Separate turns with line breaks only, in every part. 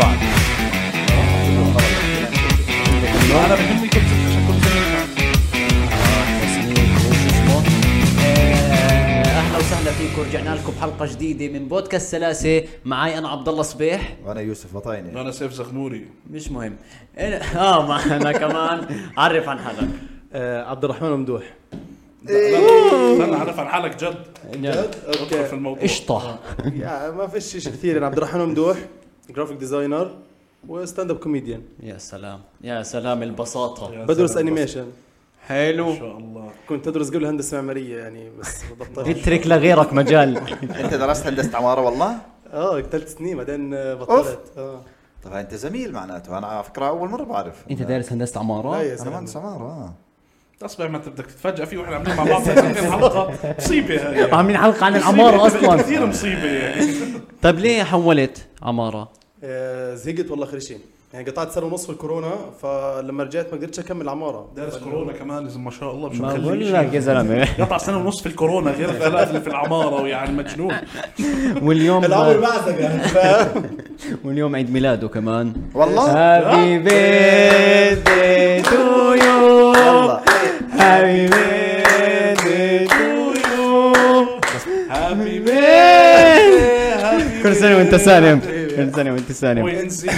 بعض انا بهمني كنت عشان كنت
تصميم وشو اسمه آه، اهلا وسهلا فيكم رجعنا لكم حلقه جديده من بودكاست سلاسه معي انا عبد الله صبيح
وانا يوسف بطاينه
انا سيف زغنوري
مش مهم أنا- اه معنا كمان عرف عن حالك
آه، عبد الرحمن ممدوح
استنى اعرف عن حالك جد ادخل في الموضوع
قشطه
يعني ما فيش شيء كثير أنا عبد الرحمن ممدوح جرافيك ديزاينر وستاند اب كوميديان
يا سلام يا سلام البساطه
يا
بدرس
سلام.
انيميشن
ان
حلو
شاء الله
كنت ادرس قبل هندسه معماريه يعني بس بطلت
اترك لغيرك مجال
انت درست هندسه عماره والله؟
اه ثلاث سنين بعدين آه، بطلت اه
طبعا انت زميل معناته انا على فكره اول مره بعرف
انت دارس هندسه
لا
عماره
يا
انا
زلمه
مهندس عماره اه
اصبع ما انت بدك تتفاجئ فيه واحنا عاملين مع بعض سنتين حلقه مصيبه هاي
عاملين حلقه عن
مصيبة،
العماره
أنت بقيت
اصلا
كثير مصيبه يعني
طيب ليه حولت عماره
آه، زهقت والله خرشين يعني قطعت سنه ونص في الكورونا فلما رجعت ما قدرتش اكمل عماره
دارس كورونا كمان اذا ما شاء الله مش
ما
مخليه
بقول
شيء.
لك يا زلمه
قطع سنه ونص في الكورونا غير الثلاث اللي في العماره ويعني مجنون
واليوم
العمر بعزك يعني فاهم؟
واليوم عيد ميلاده كمان
والله
هابي بيرثدي تو يو
والله
هابي بيرثدي تو يو
هابي
كل سنه وانت سالم كل سنه وانت سالم
وينزل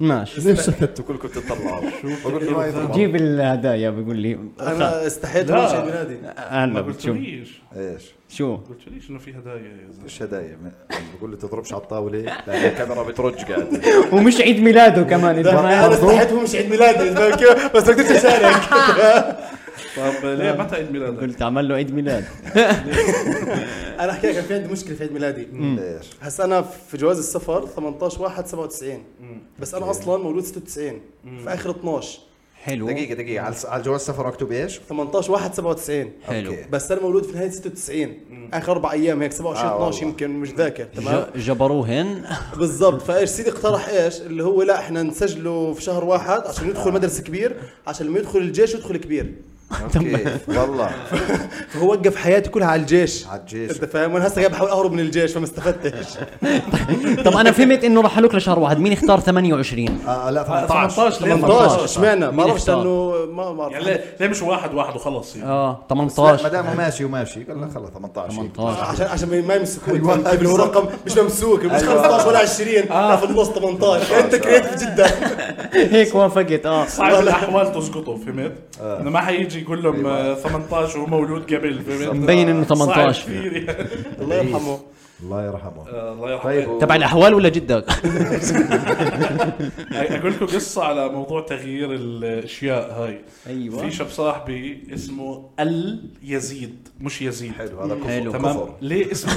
ماشي
سكتوا كلكم تطلعوا شو بقول لي ما يطلعوا.
جيب الهدايا بقول لي
انا استحيت
لا.
اروح عيد ميلادي
ما
هلا بتشوف
قلتليش
ايش؟
شو
قلتليش انه في هدايا يا زلمه
ايش هدايا؟ م- بقول له تضربش على الطاوله لان الكاميرا بترج قاعد
ومش عيد ميلاده كمان اذا ما
انا
يعرفوا
استحيت هو مش عيد ميلادي فاهم كيف؟ بس ما قدرتش اشارك
طب ليه متى عيد ميلادك؟
قلت اعمل له عيد ميلاد
انا احكي لك كان في عندي مشكله في عيد ميلادي
ايش؟
هسا انا في جواز السفر 18 واحد 97 بس انا اصلا مولود 96 في اخر 12
حلو
دقيقه دقيقه على الس- على الجواز السفر مكتوب ايش؟
18 واحد 97
حلو
أوكي.
بس انا مولود في نهايه 96 اخر اربع ايام هيك 27
آه
12
والله.
يمكن مش ذاكر تمام
ج- جبروهن
بالضبط فايش سيدي اقترح ايش اللي هو لا احنا نسجله في شهر واحد عشان يدخل مدرسه كبير عشان لما يدخل الجيش يدخل كبير
اوكي والله
فهو وقف حياتي كلها على الجيش
على الجيش
انت فاهم وانا هسه قاعد بحاول اهرب من الجيش فما استفدتش
طب انا فهمت انه رح لك لشهر واحد مين اختار 28
آه لا 18
18 ليه
18
18.
اشمعنى ما
مين
بعرفش
اختار؟
لانه ما ما
يعني ليه ليه مش واحد واحد وخلص يعني؟
اه
لا، ما
18
دام ماشي وماشي قال لا خلص 18
18
عشان عشان ما يمسكوك
أيوة.
فهمت كيف اللي هو رقم مش ممسوك مش
أيوة. آه.
15 ولا 20 لا في النص 18 انت كريتيف جدا
هيك وافقت اه
صعب الاحوال تسقطه فهمت؟ انه ما حيجي يقول لهم آه، 18 وهو مولود قبل فهمت؟
مبين إنه
صعب
18.
كثير يعني.
الله يرحمه
الله يرحمه
آه، الله
طيب
يرحمه
و-
تبع الاحوال ولا جدك؟
اقول لكم قصه على موضوع تغيير الاشياء هاي
أيوة.
في شاب صاحبي اسمه اليزيد مش يزيد
حلو هذا
حلو.
كفر
تمام
كفر
ليه اسمه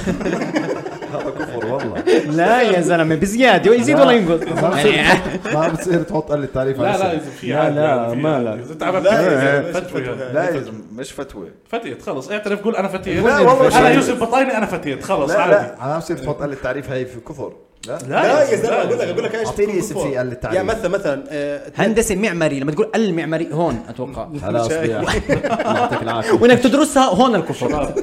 هذا كفر والله
لا يا زلمه بزياده يزيد ولا ينقص
ما بتصير تحط قلة تعريف على
لا لا
السنة.
إذا في
لا،
عادي،
لا،
يعني في
ما
عادي.
لا.
إذا تعبت
لا،
يعني
إذا مش
لا يا
فتوى.
فتوى يعني.
زلمة، مش فتوى
فتيت خلص اعترف قول انا فتيت
لا، والله
انا
شيء.
يوسف بطايني انا فتيت خلص
لا
عادي
لا انا بصير تحط قلة تعريف هاي في كفر لا
لا يا
يزيد،
زلمه
لا،
اقول لك
يزيد.
اقول لك ايش
أعطيني
تكون
اسم
كفار.
في قال التعريف.
يعني مثلا مثلا آه،
هندسه معماري لما تقول المعماري هون اتوقع
خلاص يا الله يعطيك العافية
وانك تدرسها هون الكفر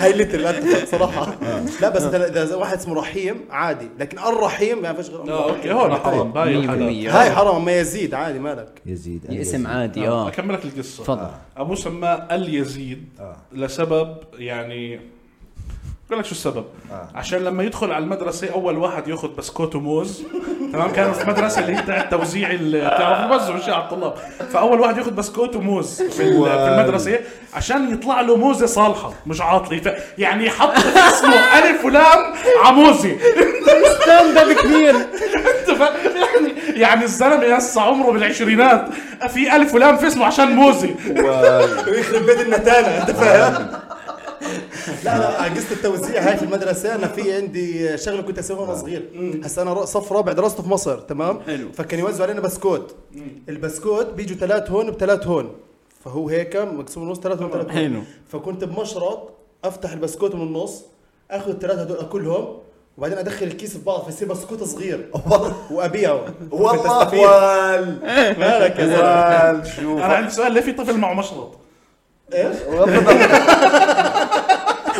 هاي ليتل اتفق صراحه
آه.
لا بس مثلاً اذا واحد اسمه رحيم عادي لكن الرحيم ما فيش غير
لا اوكي هون حرام باقي الحلال
100%
هاي حرام ما يزيد عادي مالك
يزيد
يا
أنا
اسم
يزيد.
عادي
آه،
اه
اكمل لك القصه
تفضل
ابوه سماه اليزيد
آه.
لسبب يعني بقول لك شو السبب
آه.
عشان لما يدخل على المدرسه اول واحد ياخذ بسكوت وموز تمام كانت المدرسه اللي هي تاعت توزيع ال- بتعرف بوزعوا شيء على الطلاب فاول واحد ياخذ بسكوت وموز في ال- في المدرسه عشان يطلع له موزه صالحه مش عاطله ف- يعني حط اسمه الف ولام عموزي
ستاند اب كبير
انت فاهم؟ يعني يعني الزلمه هسه عمره بالعشرينات في الف ولام في اسمه عشان موزي
ويخرب بيت النتانه انت فاهم لا لا على قصه التوزيع هاي في المدرسه انا في عندي شغله كنت اسويها وانا صغير هسا انا صف رابع درسته في مصر تمام
حلو.
فكان يوزعوا علينا بسكوت البسكوت بيجوا ثلاث هون بثلاث هون فهو هيك مقسوم نص ثلاث هون ثلاث
حلو.
هون فكنت بمشرط افتح البسكوت من النص اخذ الثلاثه هدول اكلهم وبعدين ادخل الكيس في بعض فيصير بسكوت صغير وابيعه
والله
كنت أستفيد.
وال
مالك يا زلمه
وال شو
انا عندي سؤال ليه في طفل معه مشرط؟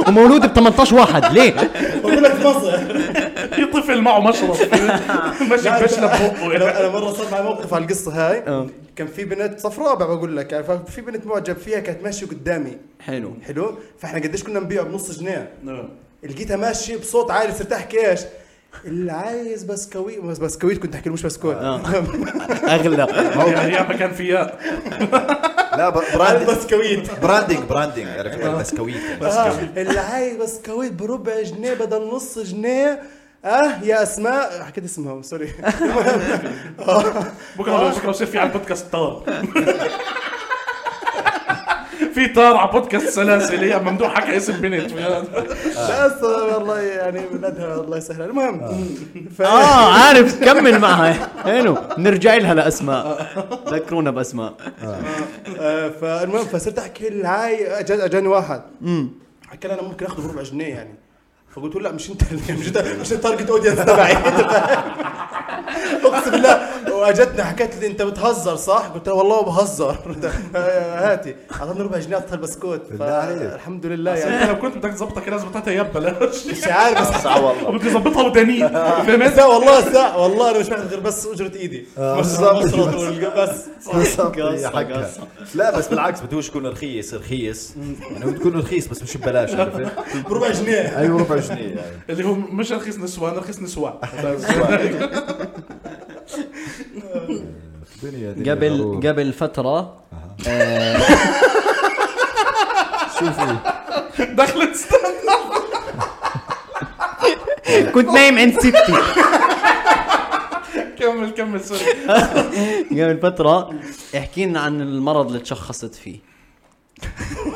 ومولود ب 18 واحد ليه؟
بقول لك في مصر
في طفل طفل معه مشرب ماشي
لا،
بشلب
انا
بقه
أنا مره صار معي موقف على القصه هاي كان في بنت صف رابع بقول لك يعني ففي بنت معجب فيها كانت ماشيه قدامي
حلو
حلو فاحنا قديش كنا نبيعه بنص جنيه
آه.
لقيتها ماشيه بصوت عالي صرت احكي ايش اللي عايز بسكويت بس بسكويت كنت احكي له مش بسكوت
اغلى
يعني ايام ما كان فيها
لا
عايز
براندنج
بسكويت
براندنج براندنج عرفت البسكويت
آه،
بسكويت
اللي عايز بسكويت بربع جنيه بدل نص جنيه اه يا اسماء حكيت اسمها سوري
بكره بكره بصير في على البودكاست طار في طار على بودكاست سلاسل هي ممدوح حكى اسم بنت
بس والله يعني بلادها الله يسهلها المهم ف...
اه عارف كمل معها حلو نرجع لها لاسماء ذكرونا باسماء
آه، فالمهم فصرت احكي هاي اجاني واحد حكى لي انا ممكن اخذه بربع جنيه يعني فقلت له لا مش انت مش انت مش التارجت اودينس تبعي اقسم بالله واجتني حكت لي انت بتهزر صح؟ قلت لها والله بهزر آه، هاتي اعطاني ربع جنيه اعطيها البسكوت
بالله عليك.
الحمد لله يعني
انا لو كنت بدك تظبطها كده زبطتها يا ببلاش
مش عارف بس
صح والله
وبدي اظبطها ودنيا فهمت؟
لا والله ساعة والله انا مش باخذ غير بس اجرة ايدي
بالظبط.
مصر طول بس
بالضبط، هي
قصة،
حقها.
قصة.
لا بس بالعكس بدوش يكون رخيص رخيص يعني بده يكون رخيص بس مش ببلاش عرفت
بربع جنيه
ايوه ربع جنيه يعني
اللي هو مش رخيص نسوان رخيص نسوان
طيب، دنيا دنيا
قبل
ضروري.
قبل فتره
شوفوا
دخلت ستاند
كنت نايم عند ستي
كمل كمل سوري
قبل فتره احكي لنا عن المرض اللي تشخصت فيه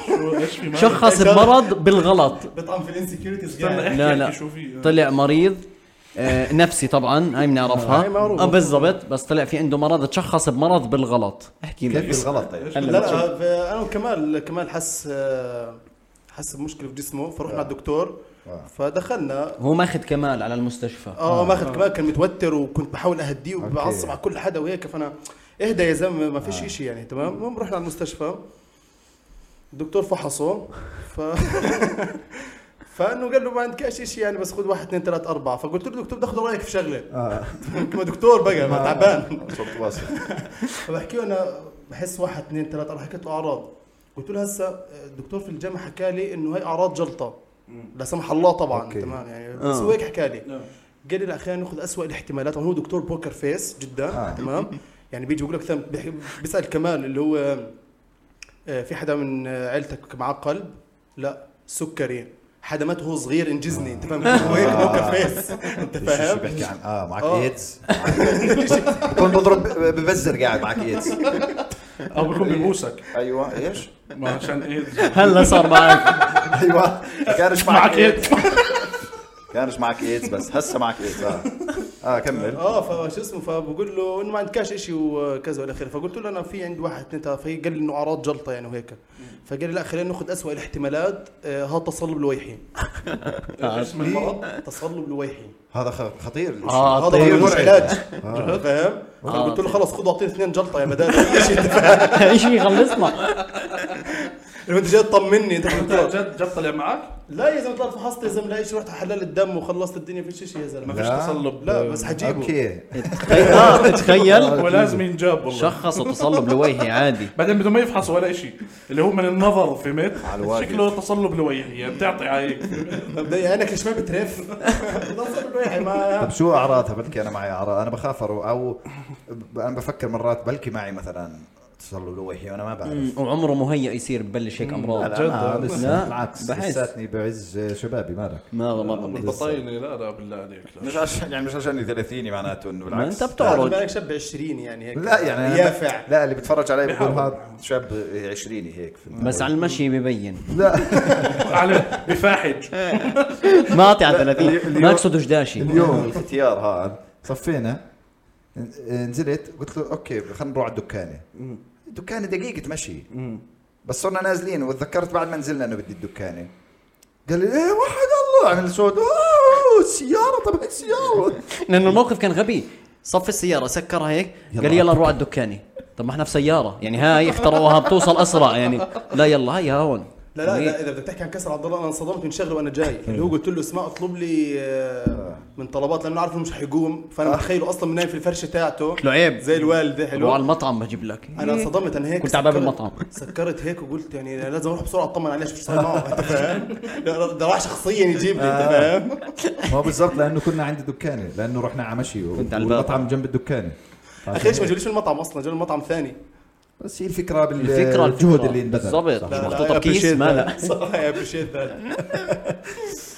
شو- ايش في معك؟
شخص بمرض بالغلط
بطعم في الانسكيورتيز
استنى احكي
لا، لا.
احكي شو في
طيب،
طلع مريض آه، نفسي طبعا هاي بنعرفها
هاي معروفة.
اه بالضبط بس طلع في عنده مرض تشخص بمرض بالغلط احكي لي
كيف الغلط طيب
لا لا ف- انا وكمال كمال حس آه، حس بمشكله في جسمه فرحنا على الدكتور
آه.
فدخلنا
هو ماخذ كمال على المستشفى
اه ماخذ كمال كان متوتر وكنت بحاول اهديه وبعصب على كل حدا وهيك فانا اهدى يا زلمه ما فيش شيء يعني تمام المهم رحنا على المستشفى الدكتور فحصه ف فانه قال له ما عندك اي شيء يعني بس خذ واحد اثنين ثلاث اربعه فقلت له دكتور بدي اخذ رايك في شغله
اه
ما دكتور بقى
آه.
ما تعبان
صوت واصل
فبحكي له انا بحس واحد اثنين ثلاثة أربعة حكيت له أعراض قلت له هسا الدكتور في الجامعة حكى لي إنه هي أعراض جلطة لا سمح الله طبعا
أوكي.
تمام يعني
آه.
بس هو هيك حكى لي
آه.
قال لي لا خلينا ناخذ أسوأ الاحتمالات هو دكتور بوكر فيس جدا
آه.
تمام يعني بيجي بيقول لك ثم- بيحكي- بيسأل كمال اللي هو آه، في حدا من آه، عيلتك معاه قلب لا سكري حدا مات وهو صغير انجزني انت فاهم هو هيك بوكر فيس انت
آه. إيش- إيش
فاهم
بحكي عن اه معك
آه.
ايدز بكون بضرب ببزر قاعد معك ايدز
او بكون ببوسك
ايوه ايش؟
ما عشان ايه
هلا صار معك
ايوه كانش
معك
معك
ايه
ايدز كانش معك ايدز بس هسه معك ايدز اه اه كمل
اه فشو اسمه فبقول له انه ما عندكاش شيء وكذا والى اخره فقلت له انا في عندي واحد اثنين ثلاثه فهي قال لي انه اعراض جلطه يعني وهيك فقال لي لا خلينا ناخذ اسوء الاحتمالات آه، هذا تصلب لويحي
اسم المرض
تصلب لويحي
هذا خ- خطير الإشي.
آه.
هذا
طيب.
هو مش علاج
آه.
فاهم
آه،
قلت له
طيب.
خلص خذ اعطيني اثنين جلطه يا بدال ايش انت فاهم
ايش يخلصنا
لو انت جاي تطمني انت
انت
دكتور.
جد جد طلع معك
لا يا زلمه طلعت فحصت يا زلمه لا شيء رحت حللت الدم وخلصت الدنيا في شيء يا
ما
زلمه
فيش
لا.
تصلب
لا بس حجيبه
اوكي
آه، تخيل
ولازم ينجاب والله
شخص تصلب لويهي عادي
بعدين بدهم ما يفحصوا ولا شيء اللي هو من النظر فهمت
على الواقف.
شكله تصلب لويحي يعني بتعطي عليك
مبدئيا عينك ليش ما بترف تصلب لويحي ما
طب طيب، شو اعراضها بلكي انا معي اعراض انا بخاف أرو- او ب- انا بفكر مرات بلكي معي مثلا تصلب لويحي وانا ما بعرف
وعمره مهيئ يصير ببلش هيك
لا
امراض
لا أنا
جد؟
لسه
لا،
بالعكس
بحس.
لساتني بعز شبابي مالك
ما ما بضل.
البطاينه لا لا بالله عليك لا.
مش عشان يعني مش عشان 30 معناته انه
ما
بالعكس
انت بتعرج
بالك شاب 20 يعني هيك
لا يعني أنا-
يافع
لا اللي بيتفرج علي بقول
بيحاول.
هذا شاب عشريني هيك في
بس على المشي ببين
على بفاحج
ما اعطي على 30
اليوم-
ما اقصدش داشي
اليوم الختيار هذا صفينا ن- نزلت قلت له اوكي خلينا نروح على الدكانه الدكانه دقيقه مشي بس صرنا نازلين وتذكرت بعد ما نزلنا انه بدي الدكانه قال لي ايه وحد الله عمل صوت اوه السياره طب هي السياره
لانه الموقف كان غبي صف السياره سكرها هيك قال لي يلا نروح على الدكاني طب ما احنا في سياره يعني هاي اختروها بتوصل اسرع يعني لا يلا هاي هون
لا لا, لا اذا بدك تحكي عن كسر عضلات انا انصدمت من شغله وانا جاي اللي هو قلت له اسمع اطلب لي آه، من من طلبات لانه عارف انه مش حيقوم فانا متخيله اصلا نايم في الفرشه تاعته
له آه. عيب
زي الوالده
حلو على
حلو
المطعم بجيب لك
انا انصدمت انا هيك
كنت على باب
سكرت-
المطعم.
سكرت هيك وقلت يعني أنا لازم اروح بسرعه اطمن عليه شو صار معه انت فاهم لا، ده راح شخصيا يجيب لي
آه.
انت فاهم
ما هو بالضبط لانه كنا عند الدكانه لانه رحنا على مشي و-
كنت على الباب.
والمطعم جنب الدكانه
اخي ليش ما جوليش المطعم اصلا جاب المطعم ثاني
بس هي الفكره بال
الفكره
الجهد اللي انبذل
بالضبط
صح.
مش محطوطه بكيس ما لا
صح يا ابريشيت ذات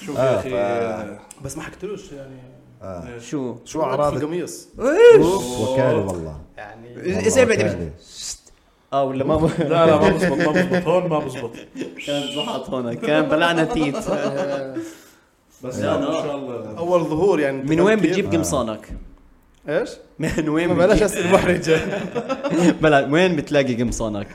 شوف يا اخي
بس ما حكيتلوش يعني
شو
آه. شو اعراض
القميص
أوف، وكاله والله
يعني
والله
ازاي بعد
وكالة.
اه ولا ما ب-
لا لا ما بزبط ما بزبط هون ما بزبط
كان زحط هنا كان بلعنا تيت
بس
لا،
ان
لا.
شاء الله
اول ظهور يعني
من وين
كيف؟
بتجيب قمصانك؟
ايش؟
من وين
ما بلاش
بتجيب-
اسئله محرجه
بلا وين بتلاقي قمصانك؟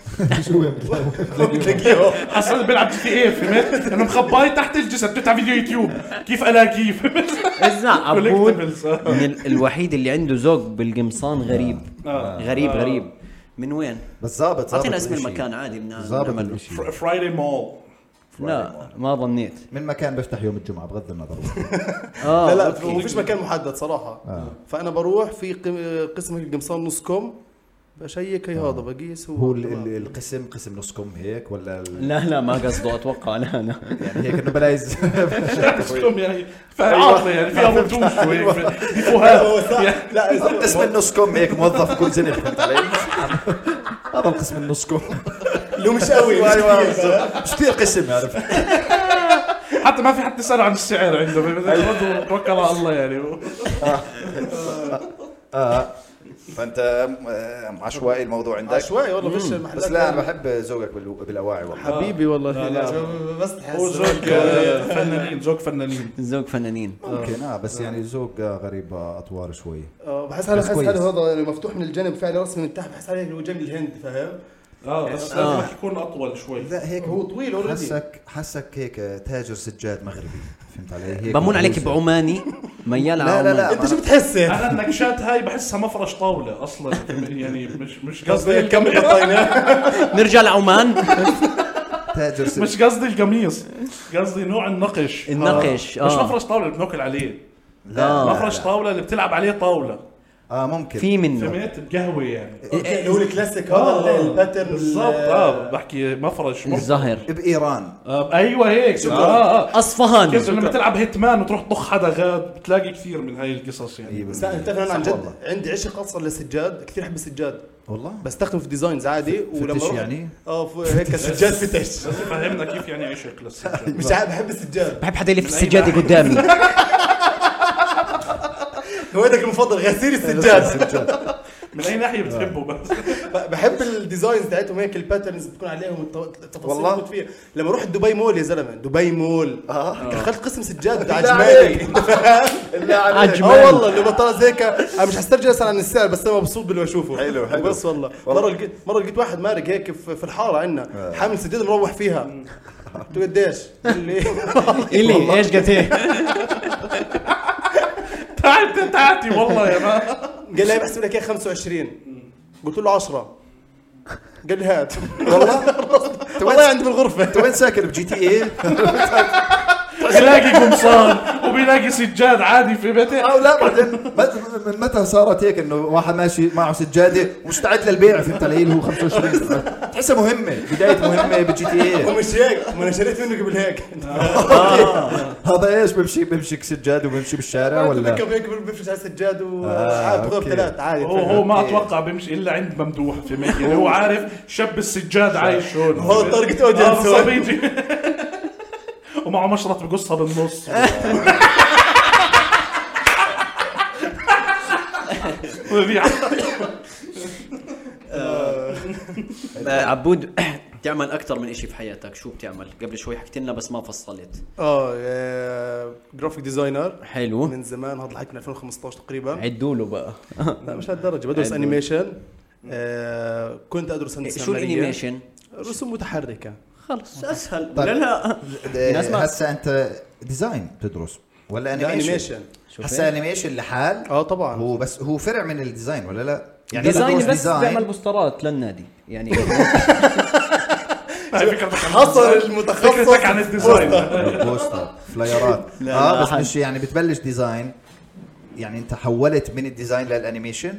بتلاقيهم
حصل بيلعب جي تي اي فهمت؟ انه مخباي تحت الجسد بتفتح فيديو يوتيوب كيف الاقيه فهمت؟
اسمع عبود
Collectibles.
من ال- الوحيد اللي عنده ذوق بالقمصان غريب
آه.
غريب
آه.
غريب من وين؟
بس ظابط ظابط
اعطينا اسم
الإشي.
المكان عادي بدنا
ظابط
نعمل-
الإشي.
فرايدي مول
لا ما ظنيت
من مكان بفتح يوم الجمعه بغض النظر
اه
لا لا
أوكي.
وما فيش مكان محدد صراحه
آه.
فانا بروح في قم- قسم القمصان نص كم بشيك هي هذا بقيس
هو ال- ال- القسم قسم نص كم هيك ولا ال-
لا لا ما قصده اتوقع لا لا
يعني هيك انه بلايز
اسكم يعني عاطله يعني فيها يعني. بطوش وهيك بفوهات
هو
يعني
صح لا
قسم النص كم هيك موظف كل سنه فهمت علي هذا القسم النص كم
لو مش قوي مش
ايوه
كتير.
بالضبط. مش كثير قسم هذا
حتى ما في حد يسال عن السعر عنده برضه توكل على الله يعني
اه فانت آه، عشوائي الموضوع عندك
عشوائي والله فيش محلات
بس لا انا بحب ذوقك بال- بالاواعي والله
حبيبي والله
لا، لا.
شو- بس
هو
تحس
زوج آه، فنانين زوج فنانين
ذوق فنانين
ممكن اه بس يعني ذوق آه، غريب آه، اطوار شوي
آه، بحس حاله
بس
بحس
كويس.
حاله هذا يعني مفتوح من الجنب فعلا رسمي من تحت بحس حاله هو جاي من الهند فاهم
اه بس لازم يكون اطول شوي
لا هيك
هو طويل اوريدي
حسك حسك هيك آه، تاجر سجاد مغربي فهمت علي هيك
بمون عليك
مهووسة.
بعماني ميال على
لا لا لا
عمان.
انت شو بتحس يعني؟
انا النكشات هاي بحسها مفرش طاوله اصلا يعني مش مش
قصدي
قصدي
كم حطينا
نرجع
آه.
لعمان
تاجر سجاد
مش قصدي القميص قصدي نوع النقش
النقش،
آه. مش
آه.
مفرش طاوله اللي بناكل عليه
لا
مفرش طاوله اللي بتلعب عليه طاوله
اه ممكن إيه،
في منه
فهمت بقهوه يعني
اللي هو الكلاسيك
آه،
هذا الباترن
بالضبط
آه.
اه بحكي مفرش مف-
الزهر
بايران
آه ايوه هيك اه
آه،
اه كيف
اصفهان
لما تلعب هيتمان وتروح تطخ حدا غاد بتلاقي كثير من هاي القصص يعني
بس لا، انت فاهم عن
صح
جد
والله.
عندي عشق اصلا للسجاد كثير احب السجاد
والله
بستخدمه في ديزاينز عادي ولما
فتش
أروح-
يعني؟
اه ف- هيك سجاد فتش
بس فهمنا كيف يعني عشق للسجاد
مش عارف بحب السجاد
بحب حدا يلف
من أي
السجاده
ناحية؟
قدامي
هوايتك المفضل غسيل السجاد
سجاد
من اي ناحيه بتحبه بس
بحب الديزاينز تاعتهم هيك الباترنز بتكون عليهم الت- التفاصيل
والله؟
اللي موجود فيها لما رحت دبي مول يا زلمه دبي مول
آه.
دخلت قسم سجاد
بالله
عجمالي
عليك.
انت فاهم؟
عجمالي.
اه والله اللي بطلت هيك انا مش حسترجع اصلا عن السعر بس انا مبسوط باللي بشوفه
حلو، حلو.
بس والله
والله. آه.
مره لقيت مره لقيت واحد مارق هيك في في الحاره عندنا حامل سجاد مروح فيها قلت له قديش؟ قال لي
الي ايش قد ايه
تعال تعالتي والله يا ما
قال لي بحسب لك اياه 25 قلت له 10 قال لي هات
والله
والله عندي بالغرفه
انت وين ساكن بجي تي إيه. اي؟
بلاقي قمصان وبلاقي سجاد عادي في بيته
آه،
او لا بعدين مت- من متى صارت هيك انه واحد ماشي معه سجاده مستعد للبيع فهمت علي اللي هو 25 تحسها مهمه بدايه مهمه بجي تي إيه. اي
ومش هيك ما انا شريت منه قبل هيك
هذا ايش بمشي بمشي سجاده وبمشي بالشارع
ولا
ولا
بيك اب بيفرش على السجاد
آه،
وعاد بضرب
أوكي.
ثلاث عادي إيه.
هو هو ما اتوقع بيمشي الا عند ممدوح في مكه هو عارف شاب السجاد عايش هون
هو تارجت اودينس
آه، بيجي ومعه مشرط بقصها بالنص وبيبيع
آه، عبود بتعمل اكثر من شيء في حياتك شو بتعمل قبل شوي حكيت لنا بس ما فصلت
آه، اه جرافيك ديزاينر
حلو
من زمان هذا الحكي من 2015 تقريبا
عدوا له بقى
لا مش لهالدرجه بدرس
عدول.
انيميشن آه، كنت ادرس هندسه
شو
معمارية.
الانيميشن
رسوم متحركه
خلص اسهل
طيب.
ولا لا ناس ما-
هسا انت ديزاين بتدرس ولا
لا،
انيميشن؟
انيميشن
هسا انيميشن لحال
آه،
اه طبعا
هو بس هو فرع من الديزاين ولا لا؟ يعني
ديزاين
بدرس
بس تعمل بوسترات للنادي يعني
هاي فكرتك عن
حصل
الديزاين.
المتخصص
فكرتك عن الديزاين
بوستر فلايرات
لا،
اه
لا،
بس
حد.
مش يعني بتبلش ديزاين يعني انت حولت من الديزاين للانيميشن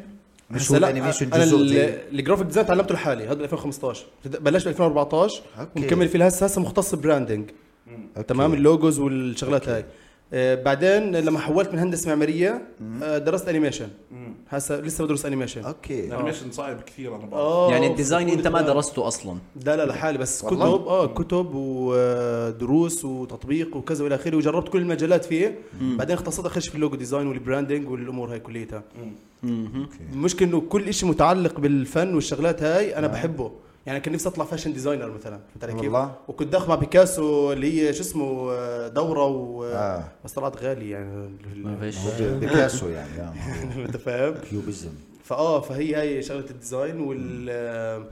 مش هو
هسا لا،
الانيميشن
انا
جزء زي-
ال- الجرافيك ديزاين تعلمته لحالي هذا 2015 بد- بلشت 2014
أوكي.
ومكمل فيه لهسه هسه مختص براندنج
أوكي.
تمام اللوجوز والشغلات هاي آه، بعدين لما حولت من هندسه معماريه آه، درست انيميشن هسه لسه بدرس انيميشن
اوكي
الانيميشن صعب كثير انا بعرف
اه
يعني الديزاين انت ما
آه.
درسته اصلا
لا لا لحالي بس كتب
والله.
اه كتب ودروس وتطبيق وكذا والى اخره وجربت كل المجالات فيه بعدين اختصرت اخش في اللوجو ديزاين والبراندنج والامور هاي كليتها المشكله انه كل شيء متعلق بالفن والشغلات هاي انا بحبه يعني كان نفسي اطلع فاشن ديزاينر مثلا فهمت علي كيف؟
آه. والله.
وكنت داخل مع بيكاسو اللي هي شو اسمه آه، دوره و
آه.
بس طلعت غالي يعني
ما فيش
بيكاسو يعني آه.
انت فاهم؟
كيوبيزم
فاه فهي هاي شغله الديزاين وال آه،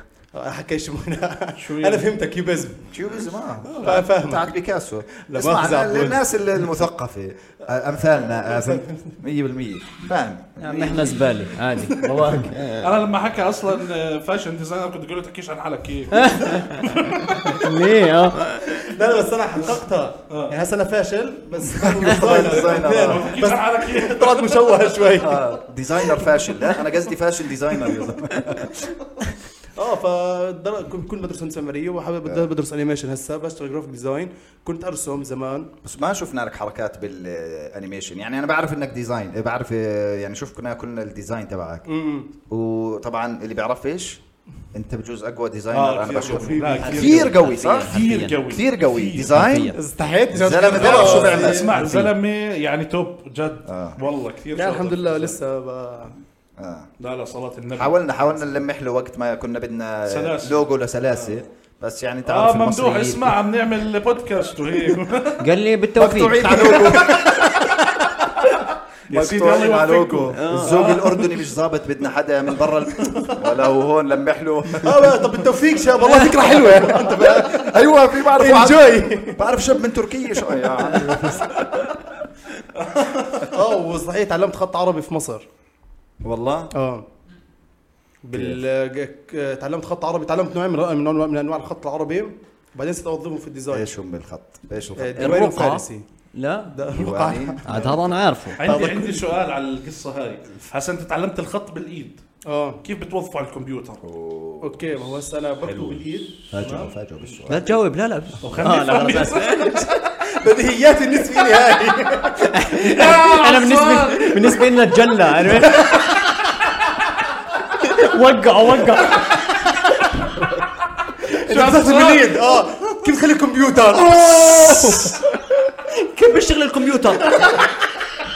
حكيش
شو يعني؟ آه.
انا فهمتك يوبزم
كيوبيزم
آه.
فا-
اه
فاهمك.
بتاعت بيكاسو
لا
اسمع
مؤاخذة
أنا
عبود.
الناس ال- المثقفه آه، امثالنا آه، فهمت 100% فاهم
احنا زباله يعني عادي بواك
انا لما حكى اصلا فاشن ديزاينر كنت اقول له تحكيش عن حالك كيف
ليه اه
لا لا بس انا حققتها
آه.
يعني هسه انا فاشل بس
ديزاينر، آه.
تحكيش عن حالك كيف
طلعت مشوه شوي
آه، ديزاينر فاشل لا انا قصدي فاشل ديزاينر يا زلمة.
اه فدر... كنت كنت بدرس هندسه معماريه وحابب
آه.
بدي بدرس انيميشن هسه بشتغل جرافيك ديزاين كنت ارسم زمان
بس ما شفنا لك حركات بالانيميشن يعني انا بعرف انك ديزاين بعرف آه، يعني شفنا كلنا الديزاين تبعك وطبعا اللي بيعرفش انت بجوز اقوى ديزاينر انا بشوف كثير قوي صح
كثير قوي
كثير قوي ديزاين
حرفياً.
استحيت
زلمة بيعرف شو بيعمل.
اسمع
كثير.
زلمه يعني توب جد
آه.
والله كثير
لا
شاطر.
الحمد لله لسه ب-
آه.
لا لا صلاه النبي
حاولنا حاولنا نلمح له وقت ما كنا بدنا
سلاسة.
لوجو لسلاسه بس يعني تعرف
اه ممدوح
المصريين.
اسمع عم نعمل بودكاست وهيك
قال لي
مقطوعين
بالتوفيق
على لوجو
يا سيدي الله
مقطوعين على لوجو
يوفقكم
الذوق الاردني مش ظابط بدنا حدا من برا ال- ولا هو هون لمح له
اه بقى، طب بالتوفيق شاب والله فكره حلوه
أنت بقى- ايوه في بعرف
Enjoy.
بعرف شاب من تركيا شو آه. يا عمي.
اه وصحيح تعلمت خط عربي في مصر
والله
اه بال ك- تعلمت خط عربي تعلمت نوع من من أنواع- من انواع الخط العربي وبعدين صرت اوظفهم في الديزاين
ايش هم بالخط ايش
آه،
إيه، الخط إيه، يعني.
ديواني
الرقعة.
وفارسي
لا
أيوة.
ده
ديواني.
عاد هذا انا عارفه
عندي عندي سؤال على القصه هاي هسا انت تعلمت الخط بالايد
اه
كيف بتوظفه على الكمبيوتر
اوكي ما هو هسه انا بكتب بالايد
فاجئوا فاجئوا بالسؤال
لا تجاوب لا لا آه، لا، لا، لا.
بديهيات النسبه لي هاي
انا بالنسبه بالنسبه لنا تجلى عرفت؟ وقعوا وقعوا
بتحسب بالايد
آه،
اه كيف تخلي الكمبيوتر
كيف بيشتغل الكمبيوتر؟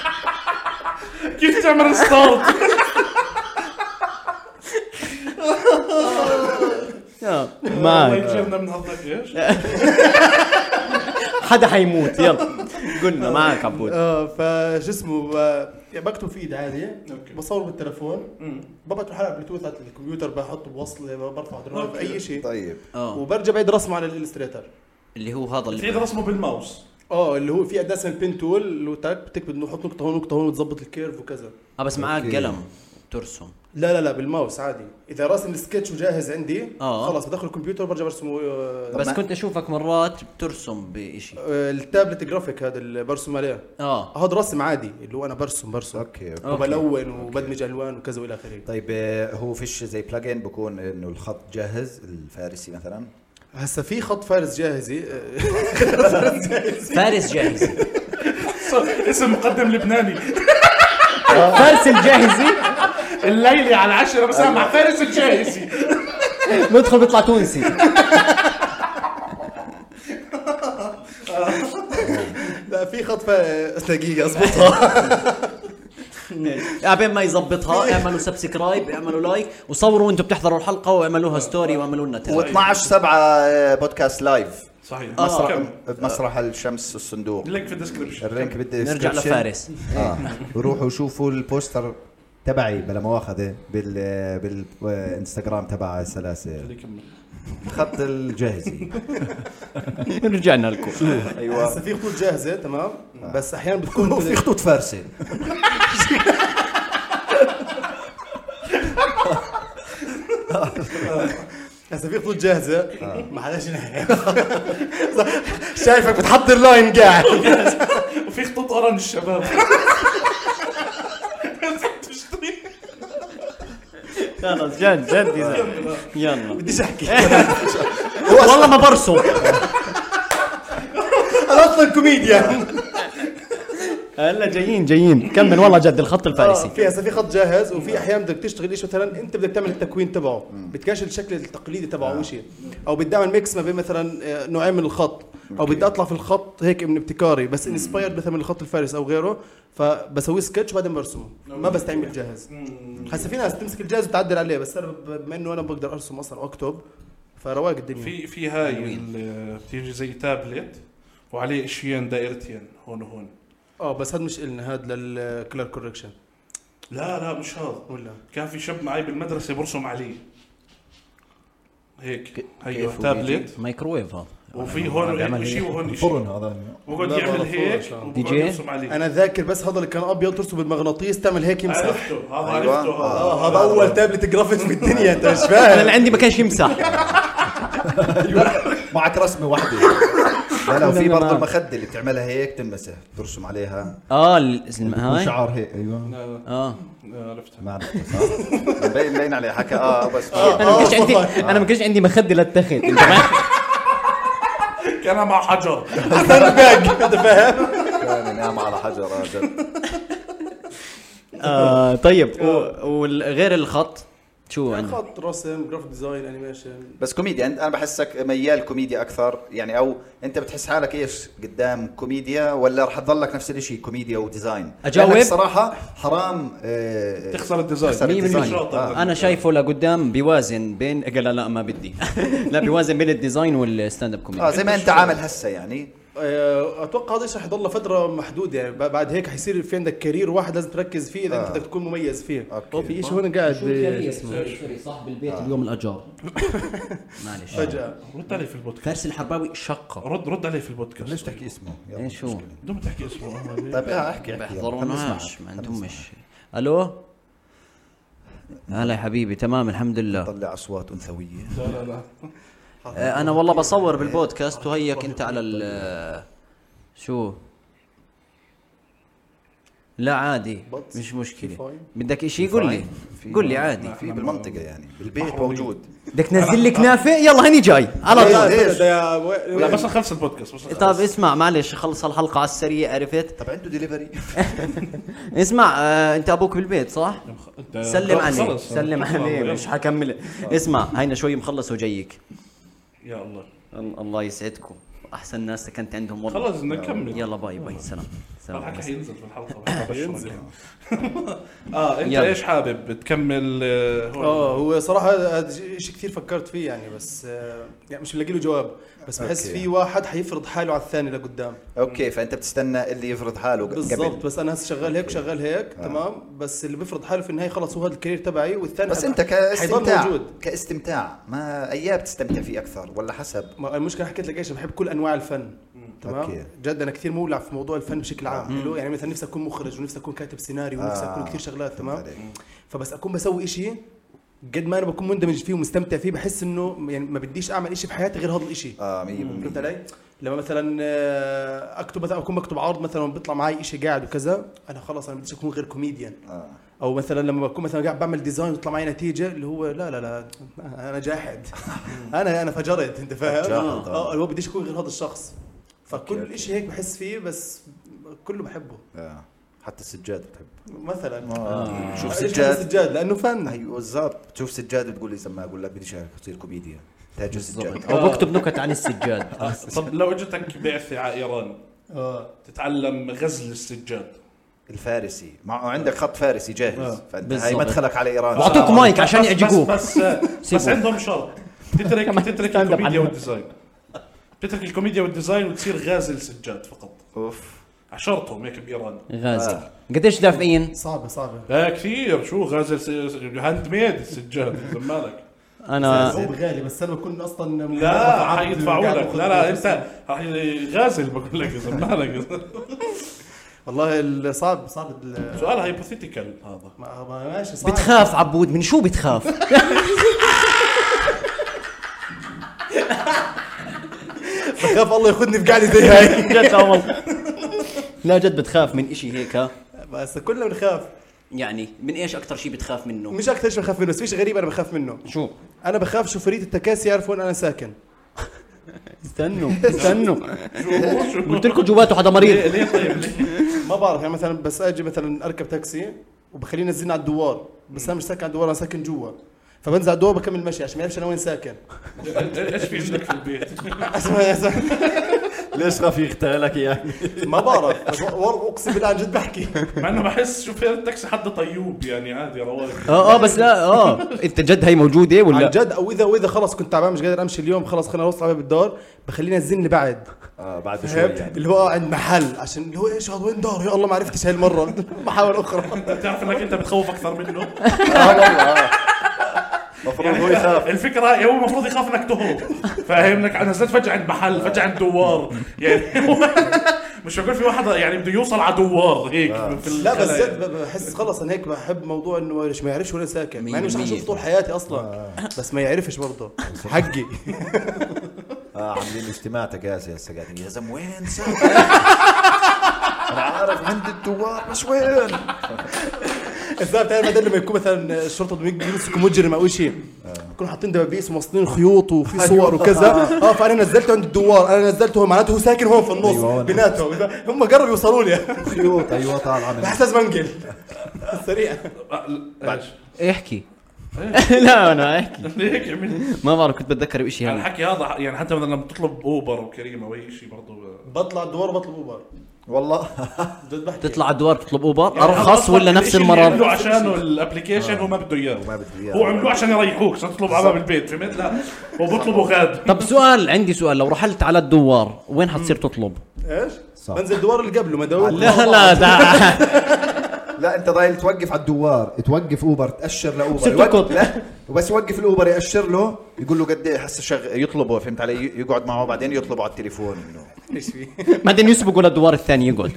كيف تعمل ستارت
آه،
الله
معك
يجيرنا من هالضيف ايش
حدا حيموت يلا قلنا معك عبود
اه فشو اسمه ب- يعني بكتب في ايد عادي بصور بالتليفون ببعت الحلقه بلوتوث على الكمبيوتر بحطه بوصله برفع درايف
أوكي.
اي شيء
طيب
اه
وبرجع بعيد رسمه على الالستريتر
اللي هو هذا
تعيد
اللي
رسمه بالماوس
اه اللي هو في اداه اسمها البين تول اللي هو تاك بتكتب انه حط نقطه هون نقطه هون وتظبط الكيرف وكذا
اه بس معك
أوكي.
قلم ترسم
لا لا لا بالماوس عادي اذا راسم السكتش وجاهز عندي
آه.
خلاص بدخل الكمبيوتر برجع برسمه آه،
بس
ما-
كنت اشوفك مرات بترسم بشيء
آه، التابلت جرافيك هذا اللي برسم عليه
اه
هذا رسم عادي اللي هو انا برسم برسم
اوكي
أوكي.
وبلون وبدمج الوان وكذا والى اخره
طيب آه، هو فيش زي بلجن بكون انه الخط جاهز الفارسي مثلا
هسا في خط فارس جاهزي
فارس جاهزي
اسم مقدم لبناني
فارس الجاهزي
الليلي على العشرة بس أنا مع فارس الجاهزي
ندخل بيطلع تونسي
لا في خط فارس دقيقه اضبطها
عبين ما يظبطها اعملوا سبسكرايب اعملوا لايك وصوروا وانتم بتحضروا الحلقه واعملوا ستوري واعملوا لنا تag.
و12 7 بودكاست لايف
صحيح
مسرح
كم؟
بمسرح الشمس والصندوق
اللينك في الديسكربشن
الرينك بدي
نرجع لفارس
اه وروحوا شوفوا البوستر تبعي بلا مؤاخذه بال بالانستغرام تبع سلاسل خط الجاهزي
رجعنا لكم
هسا في خطوط جاهزه تمام بس احيانا بتكون
في خطوط فارسي
هسا في خطوط جاهزه ما حداش ينعرف. شايفك بتحضر لاين قاعد
وفي خطوط اورنج الشباب
خلص جد جد يزعل. يلا
بديش احكي
والله ما برسم
انا اصلا كوميديان
هلا جايين جايين كمل والله جد الخط
آه،
الفارسي
في هسه في خط جاهز وفي احيان بدك تشتغل شيء مثلا انت بدك تعمل التكوين تبعه بتكاشل الشكل التقليدي تبعه او شيء او بدي اعمل ميكس ما بين مثلا آه، نوعين من الخط او بدي اطلع في الخط هيك من ابتكاري بس انسبايرد مثلا من الخط الفارسي او غيره فبسوي سكتش وبعدين برسمه ما بستعمل جاهز هسه في ناس تمسك الجاهز وتعدل عليه بس انا ب- بما انه انا بقدر ارسم اصلا واكتب فرواق الدنيا
في في هاي ال- بتيجي زي تابلت وعليه اشيين دائرتين هون وهون
اه بس هذا مش النا هذا للكلر كوركشن
لا لا مش هذا
ولا
كان في شاب معي بالمدرسه برسم عليه هيك هي
كيف
تابلت
مايكرويف هذا
وفي هون هيك شيء وهون شيء
فرن هذا
وبقعد
لا،
يعمل
بعرف
هيك
والله.
دي
وبقعد
جي؟
يرسم عليه
انا ذاكر بس هذا اللي كان ابيض ترسم بالمغناطيس تعمل هيك يمسح
عرفته هذا
أيوة.
عرفته هذا
اه هذا اول تابلت جرافيك بالدنيا انت
انا
مش
اللي
فاهم
عندي ما كانش يمسح
معك رسمه واحده لا لا وفي
كلنا
برضه
معك.
المخده اللي بتعملها هيك تنمسح ترسم عليها
اه ال- هاي
وشعار هيك ايوه
اه
آه، عرفته
ما عرفت، صح؟ باين باين عليه حكى اه بس
انا ما كانش
آه،
عندي
والله.
انا ما كانش عندي مخدة للتخت انت فاهم؟
كان مع حجر
باك انت فاهم
كان ينام على حجر آه، جد
آه، طيب و- وغير الخط شو عندك؟
خط رسم جرافيك ديزاين انيميشن
بس كوميديا انت انا بحسك ميال كوميديا اكثر يعني او انت بتحس حالك ايش قدام كوميديا ولا رح تضلك نفس الشيء كوميديا وديزاين
أجاوب؟
لأنك صراحه حرام آه،
تخسر الديزاين
تخسر
مية
الديزاين.
بالمية.
آه.
انا شايفه لقدام بيوازن بين لا لا ما بدي لا بيوازن بين الديزاين والستاند اب
اه
كوميدي
زي ما انت عامل هسه يعني
آه، اتوقع هذا الشيء حيضل فتره محدوده يعني ب- بعد هيك حيصير في عندك كارير واحد لازم تركز فيه اذا انت بدك تكون مميز فيه
أوكي.
في
آه.
شيء هون قاعد
آه،
سوري صاحب البيت اليوم الاجار معلش
فجاه
رد عليه في البودكاست
فارس الحرباوي شقه
رد رد عليه في البودكاست
ليش تحكي اسمه؟ يلا،
ايش
مش
هو؟
مشكلة.
بدون ما تحكي اسمه آه،
طيب اه احكي احكي يلا، خلنا
بحضروناش
نسمعك.
ما
خلنا
عندهم
نسمعك.
مش الو هلا يا حبيبي تمام الحمد لله
طلع اصوات انثويه
لا لا لا
آه، انا والله بصور بالبودكاست وهيك انت على ال شو لا عادي مش مشكله بدك اشي قول لي قول لي عادي
في بالمنطقه يعني بالبيت موجود
بدك تنزل لي كنافه يلا هني جاي على
لا،
طول
ليش؟
ده-
آه،
ده- و-
لا بس نخلص البودكاست بس
طب اسمع معلش خلص الحلقه على السريع عرفت
طب عنده دليفري
اسمع آه انت ابوك بالبيت صح
انت-
سلم عليه
آه، خلص.
سلم
خلص.
عليه
يلا.
مش حكمل اسمع هينا شوي مخلص وجايك
يا الله
ال- الله يسعدكم احسن ناس سكنت عندهم والله
خلص بدنا نكمل
يلا باي باي سلام سلام
الحكي حينزل في الحلقه بعد بشر. اه انت
يلا.
ايش حابب تكمل آه، هون
اه هو صراحه هذا شيء كثير فكرت فيه يعني بس آه، يعني مش بلاقي له جواب بس بحس
أوكي.
في واحد حيفرض حاله على الثاني لقدام
اوكي فانت بتستنى اللي يفرض حاله قبل
بالضبط بس انا هسه شغال هيك شغال هيك
آه.
تمام بس اللي بيفرض حاله في النهايه خلص هو هذا الكارير تبعي والثاني
بس
حيضل-
انت
حيضل
كاستمتاع
موجود
كاستمتاع ما اياه بتستمتع فيه اكثر ولا حسب
ما- المشكله حكيت لك ايش بحب كل انواع الفن
أوكي.
تمام جد انا كثير مولع في موضوع الفن بشكل عام حلو يعني مثلا نفسي اكون مخرج ونفسي اكون كاتب سيناريو ونفسي
آه،
اكون كثير شغلات تمام
عليك.
فبس اكون بسوي إشي قد ما انا بكون مندمج فيه ومستمتع فيه بحس انه يعني ما بديش اعمل إشي بحياتي غير هذا الإشي
اه
فهمت
100%
علي؟ لما مثلا آه، اكتب مثلا اكون بكتب عرض مثلا بيطلع معي شيء قاعد وكذا انا خلاص انا بديش اكون غير كوميديان
آه.
او مثلا لما بكون مثلا قاعد بعمل ديزاين ويطلع معي نتيجه اللي هو لا لا لا انا جاحد انا انا فجرت انت فاهم؟
جاحد، آه.
اه اللي هو بديش اكون غير هذا الشخص
أوكي،
فكل شيء هيك بحس فيه بس كله بحبه
آه. حتى السجاد بتحب
مثلا
آه. شوف
ليش بحب
سجاد
السجاد لانه فن
ايوه بالضبط بتشوف سجاد بتقول لي زلمه اقول لك بديش اصير كوميديا تاج السجاد
او بكتب نكت عن السجاد
طب لو اجتك بعثه على ايران
اه
آه. تتعلم غزل السجاد
الفارسي مع عندك خط فارسي
آه.
جاهز فانت هاي
بالضبط.
مدخلك على ايران
واعطوك مايك عشان
آه، بس-
يعجبوك
بس بس, بس
سيبوه.
عندهم شرط تترك تترك
ستاند اب عنه.
الكوميديا والديزاين تترك الكوميديا والديزاين وتصير غازل سجاد فقط
اوف
عشرتهم هيك بايران
غازي قديش دافعين؟
صعبه صعبه
لا كثير شو غازل س- هاند ميد السجاد زمالك
آه.
انا
هو غالي بس انا بكون اصلا
لا حيدفعوا لك لا لا انت راح ي- غازل بقول لك زمالك
والله ال- صعب صعب ال-
سؤال هايبوثيتيكال هذا
ما- ما- ماشي صعب
بتخاف عبود من شو بتخاف؟
بخاف الله ياخذني في قاعده زي هاي
جد والله لا جد بتخاف من اشي هيك ها
بس كلنا بنخاف
يعني من ايش اكثر شيء بتخاف منه؟
مش اكثر شيء بخاف منه بس فيش غريب انا بخاف منه
شو؟
انا بخاف شوفيريت التكاسي يعرفوا وين انا ساكن
استنوا إيه. استنوا
شو- شو-
قلت لكم جواته حدا مريض
ليه ليه طيب ليه؟
ما بعرف يعني مثلا بس اجي مثلا اركب تاكسي وبخليه ينزلني على الدوار بس انا مش ساكن على الدوار انا ساكن جوا فبنزل على الدوار بكمل مشي عشان ما يعرفش انا وين ساكن
ايش في عندك في البيت؟
اسمع اسمع
ليش خاف يغتالك يعني
ما بعرف بس والله اقسم بالله عن جد بحكي
مع انه بحس شوفير التاكسي حد طيوب يعني عادي رواق
اه اه بس لا اه انت جد هي موجوده
عن
ولا
جد او اذا واذا خلص كنت تعبان مش قادر امشي اليوم خلص خلينا نوصل على باب الدار بخليه ينزلني بعد
آه،
اه بعد شوي
فهمت
يعني
اللي هو عند محل عشان اللي هو ايش هذا وين دار يا الله ما عرفتش هاي المره محاول اخرى
بتعرف انك انت بتخوف اكثر منه
اه والله آه. المفروض
يعني
هو يخاف
الفكره هو المفروض يخاف انك تهرب فاهم انك نزلت فجاه عند محل فجاه عند دوار يعني مش بقول في واحد يعني بده يوصل على دوار هيك في
لا بس
الخلايا.
جد بحس خلص انا هيك بحب موضوع انه ليش ما يعرفش وين ساكن مع انه مش
مية
حشوف
بالمية.
طول حياتي اصلا بس ما يعرفش برضه حقي
اه عاملين اجتماع تكاسي هسه قاعدين يا زلمه وين ساكن؟ انا عارف عند الدوار بس وين؟
الزلمه بتعرف بعدين لما يكون مثلا الشرطه بيجي بيمسكوا مجرم او شيء بيكونوا حاطين دبابيس وموصلين خيوط وفي صور وكذا اه فانا نزلته عند الدوار انا نزلته هون معناته هو ساكن هون في
أيوة،
النص
هون.
بيناتهم هم قربوا يوصلوا لي
خيوط ايوه طالعه من
بحسس منقل سريع
آه، بعد
احكي إيه. لا انا احكي
هيك عملت
ما بعرف كنت بتذكر بشيء هلا
الحكي هذا يعني حتى مثلا لما تطلب اوبر وكريمه او اي شيء برضه يعني
بطلع الدوار بطلب اوبر
والله
جد بحكي
تطلع على الدوار تطلب اوبر ارخص ولا نفس
عملوا
المرض
عشانه الابلكيشن هو ما بده اياه
ما بده إياه.
هو عملوه عشان يريحوك عشان تطلب على باب البيت فهمت لا هو بيطلبوا غاد
طب سؤال عندي سؤال لو رحلت على الدوار وين حتصير تطلب
ايش؟
صح.
بنزل الدوار اللي قبله ما داوم
لا لا ده
لا انت
ضايل توقف على الدوار توقف اوبر تاشر لاوبر
ست
يوقف-
قط.
لا وبس يوقف الاوبر ياشر له يقول له قد ايه هسه شغ... يطلبه فهمت علي ي- يقعد معه بعدين يطلبه على التليفون انه
ايش فيه؟
بعدين يسبقوا للدوار الثاني يقعد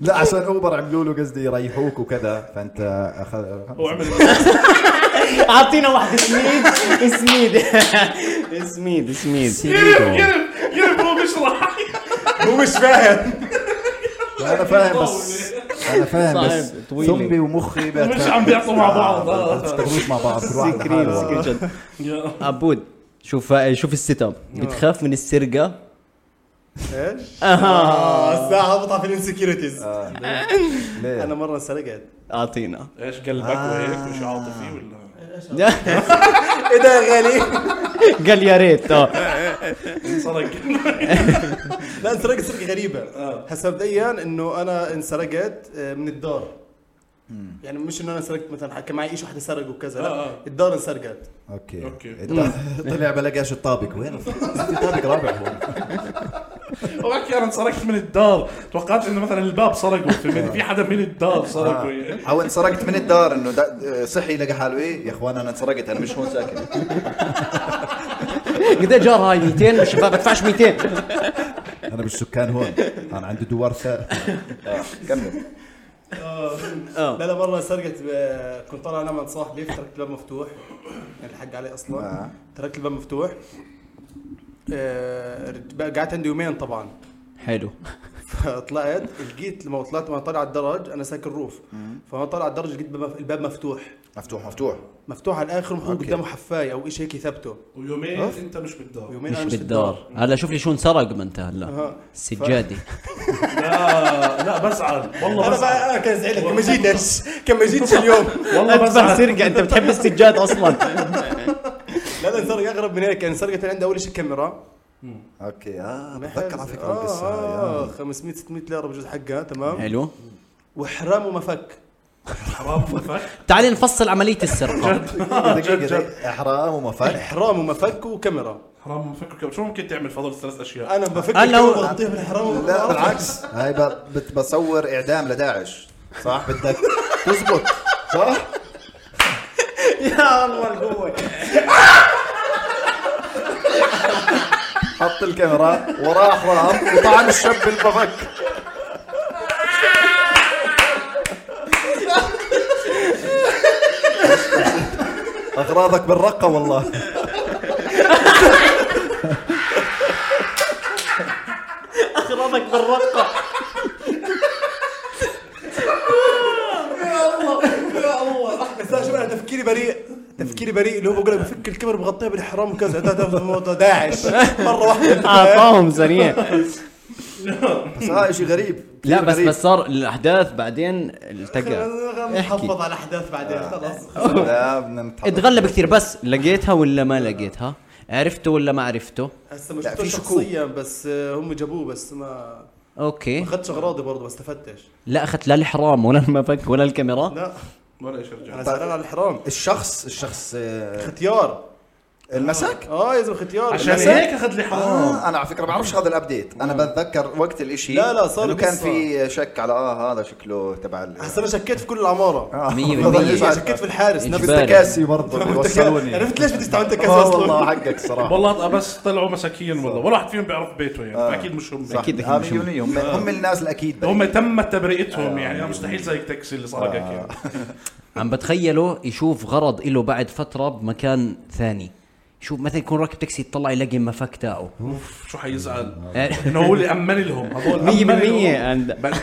لا عشان اوبر عملوا له قصدي يريحوك وكذا فانت اخذ
هو عمل
اعطينا واحد سميد سميد سميد سميد
يرب يرب يرب هو بيشرح
هو مش فاهم
انا فاهم بس انا فاهم بس
صعب، طويلة.
ثمي ومخي بيت-
مش عم بيعطوا مع بعض آه.
بيشتغلوش مع بعض كل واحد
سكرين
لحاله.
سكرين جد عبود شوف شوف السيت اب بتخاف من السرقه
ايش؟ اه الساعه هبطها في الانسكيورتيز
ليه؟
انا مره انسرقت
اعطينا
ايش قلبك وهيك مش عاطفي ولا
ايه ده يا غالي؟
قال يا ريت اه
انسرق
لا انسرقت سرقه غريبه هسا مبدئيا انه انا انسرقت آه، من الدار يعني مش انه انا سرقت مثلا حكى معي ايش وحده سرق وكذا
آه،
لا
آه.
الدار انسرقت
اوكي
أوكي.
إنت- طلع بلقاش الطابق وين في طابق رابع هون
وبحكي انا انسرقت من الدار توقعت انه مثلا الباب سرقه فهمت في حدا من الدار سرقه
آه.
يعني
او انسرقت من الدار انه دا- صحي لقى حاله
إيه
ايه يا اخوان انا انسرقت انا مش هون ساكن
قد إيه جار هاي 200 مش بدفعش 200
انا مش سكان هون انا عندي دوار ثالث آه،
كمل
لا لا مره انسرقت ب- كنت طالع انا مع صاحبي تركت الباب مفتوح يعني الحق عليه اصلا
آه.
تركت الباب مفتوح آه، رج- بقى قعدت عندي يومين طبعا
حلو
فطلعت لقيت لما طلعت وانا طالع على الدرج انا ساكن روف فانا طالع على الدرج لقيت باب- الباب مفتوح
مفتوح مفتوح
مفتوح على الاخر ومحطوط قدامه حفايه او شيء هيك يثبته
ويومين انت مش بالدار
يومين
مش
انا مش في
بالدار هلا شوف لي شو انسرق ما انت هلا السجاده
لا آه، لا بزعل والله
انا
بزعل
بقى انا كان زعلت كان ما جيتش كان ما جيتش اليوم
والله بزعل
سرقه انت بتحب السجاد اصلا
لا لا انسرق اغرب من هيك انسرقت عندي اول شيء الكاميرا
اوكي اه
بحس-
بتذكر على فكره القصه هاي،
آه،
آه.
500 600 ليره بجوز حقها تمام
حلو
وحرام وما فك
حرام فك
تعالي نفصل عمليه السرقه
دقيقه دقيقة. احرام ومفر
حرام وما فك وكاميرا
حرام فكر كم شو ممكن تعمل فضل ثلاث
آه.
اشياء
انا بفك
أنا
الكاميرا
هو-
بغطيها بالحرام وما
لا
بعرف.
بالعكس
هاي ب- بت-
بصور اعدام لداعش
صح بدك تزبط صح
يا الله القوه
حط الكاميرا وراه احرام وطعن الشاب بالبفك اغراضك بالرقه والله
اخراجك بالرقه
تفكيري بريء تفكيري بريء اللي هو بقول لك بفك الكاميرا بغطيها بالحرام وكذا ده ده موضوع داعش مره واحده
اعطاهم آه، سريع
بس هذا شيء غريب
لا
كثير
بس
غريب.
بس صار الاحداث بعدين التقى
نحافظ على الاحداث بعدين
آه.
خلاص
لا بدنا نتحرك
اتغلب كثير بس لقيتها ولا ما لقيتها عرفته ولا ما عرفته
هسه ما
لا،
شفتوش
في شكوك.
شخصيا بس آه، هم جابوه بس ما ما
إيه؟
اوكي
اخذتش اغراضي برضه ما استفدتش
لا اخذت لا الحرام ولا المفك ولا الكاميرا
لا
ولا ايش رجع
انا زعلان على الحرام
الشخص الشخص آه،
ختيار
المساك
اه يا زلمه ختيار
عشان
للأسف.
إيه؟
هيك اخذ لي حرام
آه انا على فكره بعرفش هذا الابديت انا بتذكر وقت الاشي
لا، لا، صار
إنه كان
قصة.
في شك على اه هذا شكله تبع ال-
هسه انا شكيت في كل العماره
آه.
مية
والله
بالمية.
ليش
شكيت في الحارس نفس
إجباري.
كاسي برضه بيوصلوني
عرفت ليش بديش تعمل تكاسي
آه والله
اصلا
حقك
آه.
صراحه
والله بس طلعوا مساكين والله ولا واحد فيهم بيعرف بيته يعني فاكيد مش هم
أكيد.
آه، مليون مليون. هم هم الناس الاكيد
هم تم تبرئتهم
آه.
يعني مستحيل زي التاكسي اللي سرقك يعني
عم بتخيله يشوف غرض له بعد فتره بمكان ثاني يشوف مثلا يكون راكب تاكسي يطلع يلاقي المفك تاعه
اوف شو حيزعل
آه.
انه هو اللي امن لهم هذول
مية
أمن
بالمية
لهم.
عند-
بل-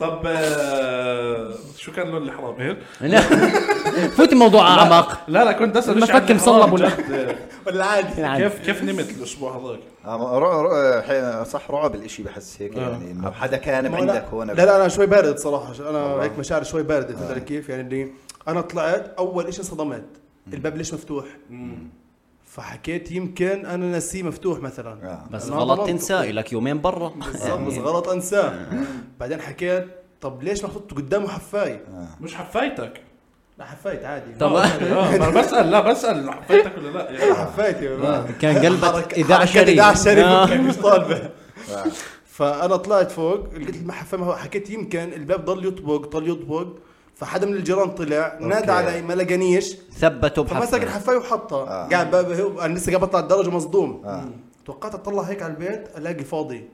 طب آه، شو كان لون الحرام هيك؟
لا فوت الموضوع اعمق
لا لا كنت اسال
المفك
إيش عن الحرام
مصلب ولا-
جد.
ولا عادي
عادي.
كيف كيف نمت الاسبوع هذاك؟
آه، رع- رع- ح- صح رعب الاشي بحس هيك يعني انه حدا كان
ما
عندك
لا.
هون
آه.
آه.
لا لا انا شوي بارد صراحه انا هيك مشاعري شوي بارده تدري كيف يعني اللي انا طلعت اول شيء انصدمت الباب ليش مفتوح فحكيت يمكن انا ناسيه مفتوح مثلا
آه.
بس
أنا
غلط
ضمنت.
تنسى لك يومين برا يعني
بالظبط بس غلط انساه بعدين حكيت طب ليش محطوط قدامه حفاي؟
آه.
مش حفايتك
لا حفايت عادي
طب
آه، ما أنا بسال لا بسال حفايتك ولا لا يعني.
حفايت
آه.
يا مان.
كان قلبك
حركة-
اذاعه
حركة
شريف
إذاعة شريف
آه.
كان مش طالبه فانا طلعت فوق لقيت المحفى ما هو- حكيت يمكن الباب ضل يطبق ضل يطبق فحدا من الجيران طلع نادى علي ما لقانيش
ثبته
فمسك
بحفل
الحفايه وحطها
آه.
قاعد بقى هو- انا لسه قاعد بطلع الدرجه مصدوم
آه.
توقعت اطلع هيك على البيت الاقي فاضي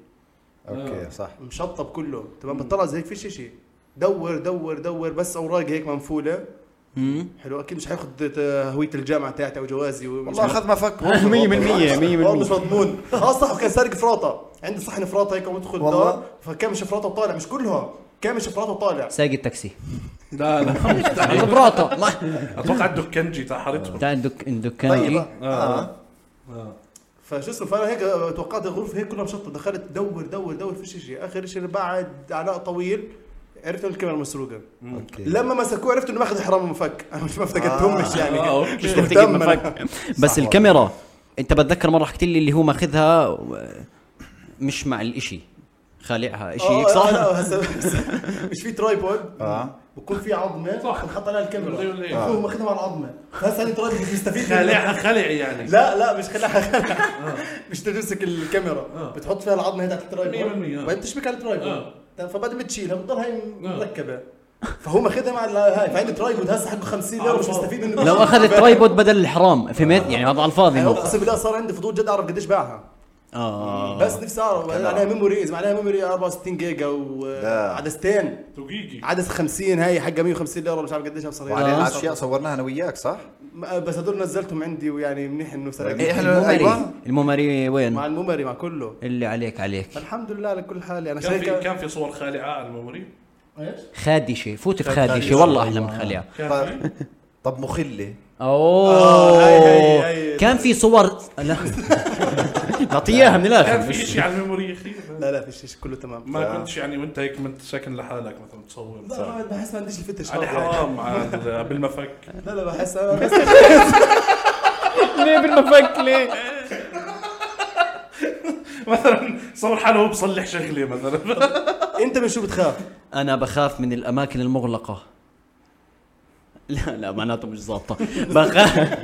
آه.
اوكي صح
مشطب كله تمام بطلع زي هيك فيش شيء دور دور دور بس اوراقي هيك منفوله
مم.
حلو اكيد مش حياخد هويه الجامعه تاعتي او جوازي
والله اخذ ما فك برضه.
100%
والله
100%
مش مضمون اه صح وكان سارق فراطه عندي صحن فراطه هيك وبدخل
والله.
الدار فكامش فراطه وطالع مش كلها كامش فراطه وطالع
سايق التاكسي
لا لا مستحيل
براطه ما
اتوقع الدكنجي تاع حارتهم
تاع الدك- الدكان
يعني
طيب
جي.
آه.
اه
فشو اسمه فانا هيك آه، توقعت الغرفه هيك كلها مشطه دخلت دور دور دور فيش شيء اخر شيء بعد عناء طويل عرفت انه الكاميرا مسروقه
اوكي
لما مسكوه عرفت انه ماخذ حرام ومفك انا مش ما افتكرتهمش
آه،
يعني
أوكي.
مش
تجيب
مهتم
مفك.
أنا.
بس الكاميرا انت بتذكر مره حكيت لي اللي هو ماخذها و- مش مع الاشي خالعها اشي هيك
آه، آه،
صح؟
لا، هسا- مش في ترايبود
آه.
بكون في عظمه
صح.
بنحط عليها الكاميرا
زي اللي-
هو ماخذها مع العظمه هسه انا ترايبود بيستفيد منها.
خالعها خلع يعني
لا لا مش خلع
آه.
مش تمسك الكاميرا
آه.
بتحط فيها العظمه هي تحت الترايبود
100%.
وبعدين تشبك على الترايبود
آه.
فبعد ما تشيلها بتضل هي
آه.
مركبه فهو ماخذها مع ال- هاي فعندي ترايبود هسه حقه 50 ليره مش
آه.
عرفت.
مستفيد منه
لو اخذ الترايبود بدل الحرام فهمت؟ يعني هذا على الفاضي
يعني
هو
اقسم بالله صار عندي فضول جد اعرف قديش باعها
آه.
اه
بس نفسي اعرف وبعدين عليها ميموريز عليها ميموري 64 جيجا
لا.
وعدستين
دقيقي
عدس 50 هاي حقها 150 ليره مش عارف قديش بصراحه
وعليه الاشياء صورناها انا وياك صح؟
بس هدول نزلتهم عندي ويعني منيح انه
إيه،
سرقني
حلو. أيوة.
الممري الممري
مع
وين؟
الميموري مع كله
اللي عليك عليك
الحمد لله على كل حال يعني
كان في
شركه
كان في صور خالعه على الميموري
ايش؟
خادشه فوت بخادشه والله احلى
آه.
من خليعه
كان
طيب.
في
طب مخله
اوه
هاي- هاي- هاي-
كان في صور لا نعطيه اياها من
كان
الاخر
في شيء على الميموري يا اخي
لا لا فيش شيء كله تمام
ما كنتش يعني وانت هيك كنت ساكن لحالك مثلا تصور
لا ما بحس ما عنديش الفتش
علي
هذا يعني.
حرام على بالمفك
لا لا بحس أنا بحس
ليه بالمفك ليه؟
مثلا صور حاله هو بصلح شغله مثلا
انت من شو بتخاف؟
انا بخاف من الاماكن المغلقه لا لا معناته مش ظابطه بخاف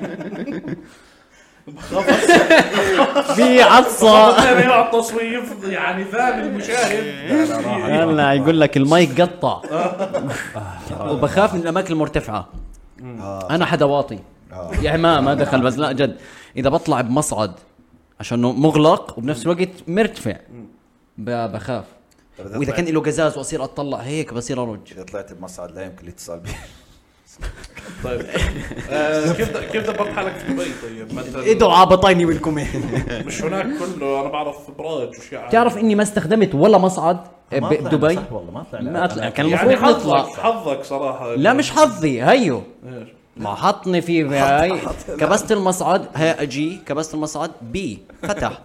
في عصا
هذا على التصويف يعني فاهم المشاهد
هلا يقول لك المايك قطع وبخاف من الاماكن المرتفعه انا حدا واطي
آه. طيب،
يعني ما ما دخل بس لا جد اذا بطلع بمصعد عشان إنه مغلق وبنفس الوقت مرتفع ب- بخاف
طب إذا
واذا
طلعت-
كان له قزاز واصير اطلع هيك بصير ارج
اذا طلعت بمصعد لا يمكن يتصل بي
طيب آه، كيف بدك- كيف دبرت حالك في دبي طيب مثلا
ادعوا عبطيني بالكم
مش هناك كله انا بعرف يعني. ابراج وشيء
بتعرف اني ما استخدمت ولا مصعد
ما
ب-
طلعنا،
دبي
صح والله ما طلعنا
ما طلع كان
يعني
المفروض نطلع
حظك حظك صراحه
لا مش حظي هيو
إيش؟
ما حطني في هاي كبست المصعد ها اجي كبست المصعد بي فتح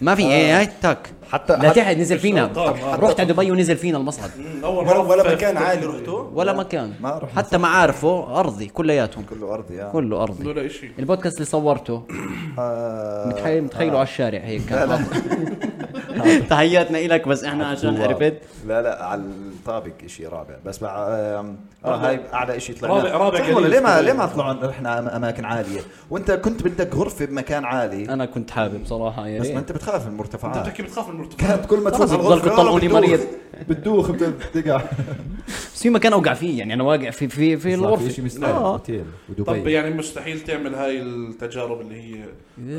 ما في ايه هاي تك
حتى-
لتحت نزل فينا
شرطان، آه.
رحت على دبي ونزل فينا المصعد
اول
ولا,
مره
ولا
في-
مكان عالي رحته
ولا مكان
ما رحنا.
حتى معارفه ارضي كلياتهم
كله ارضي اه
كله ارضي
ولا شيء
البودكاست اللي صورته
آه.
متخيل متخيله على الشارع هيك كان تحياتنا لك بس احنا عشان عرفت
لا لا على الطابق شيء رابع بس مع آم، اه هاي اعلى شيء طلعنا
رابع- رابع
صح
قليل
ولا ليه ما
شوي.
ليه ما طلعنا رحنا أم- اماكن عاليه وانت كنت بدك غرفه بمكان عالي
انا كنت حابب يعني صراحه يا
بس ما
ريت
انت بتخاف من
آه.
انت
المرتفعات
بتحكي بتخاف من المرتفعات
كانت كل ما تفوز
خلص
الغرفة،
بتضلكوا تطلعوني
بتدوخ.
مريض.
بتدوخ بتقع
بس في مكان اوقع فيه يعني انا واقع في في في الغرفه آه.
اوتيل
طيب.
طب يعني مستحيل تعمل هاي التجارب اللي هي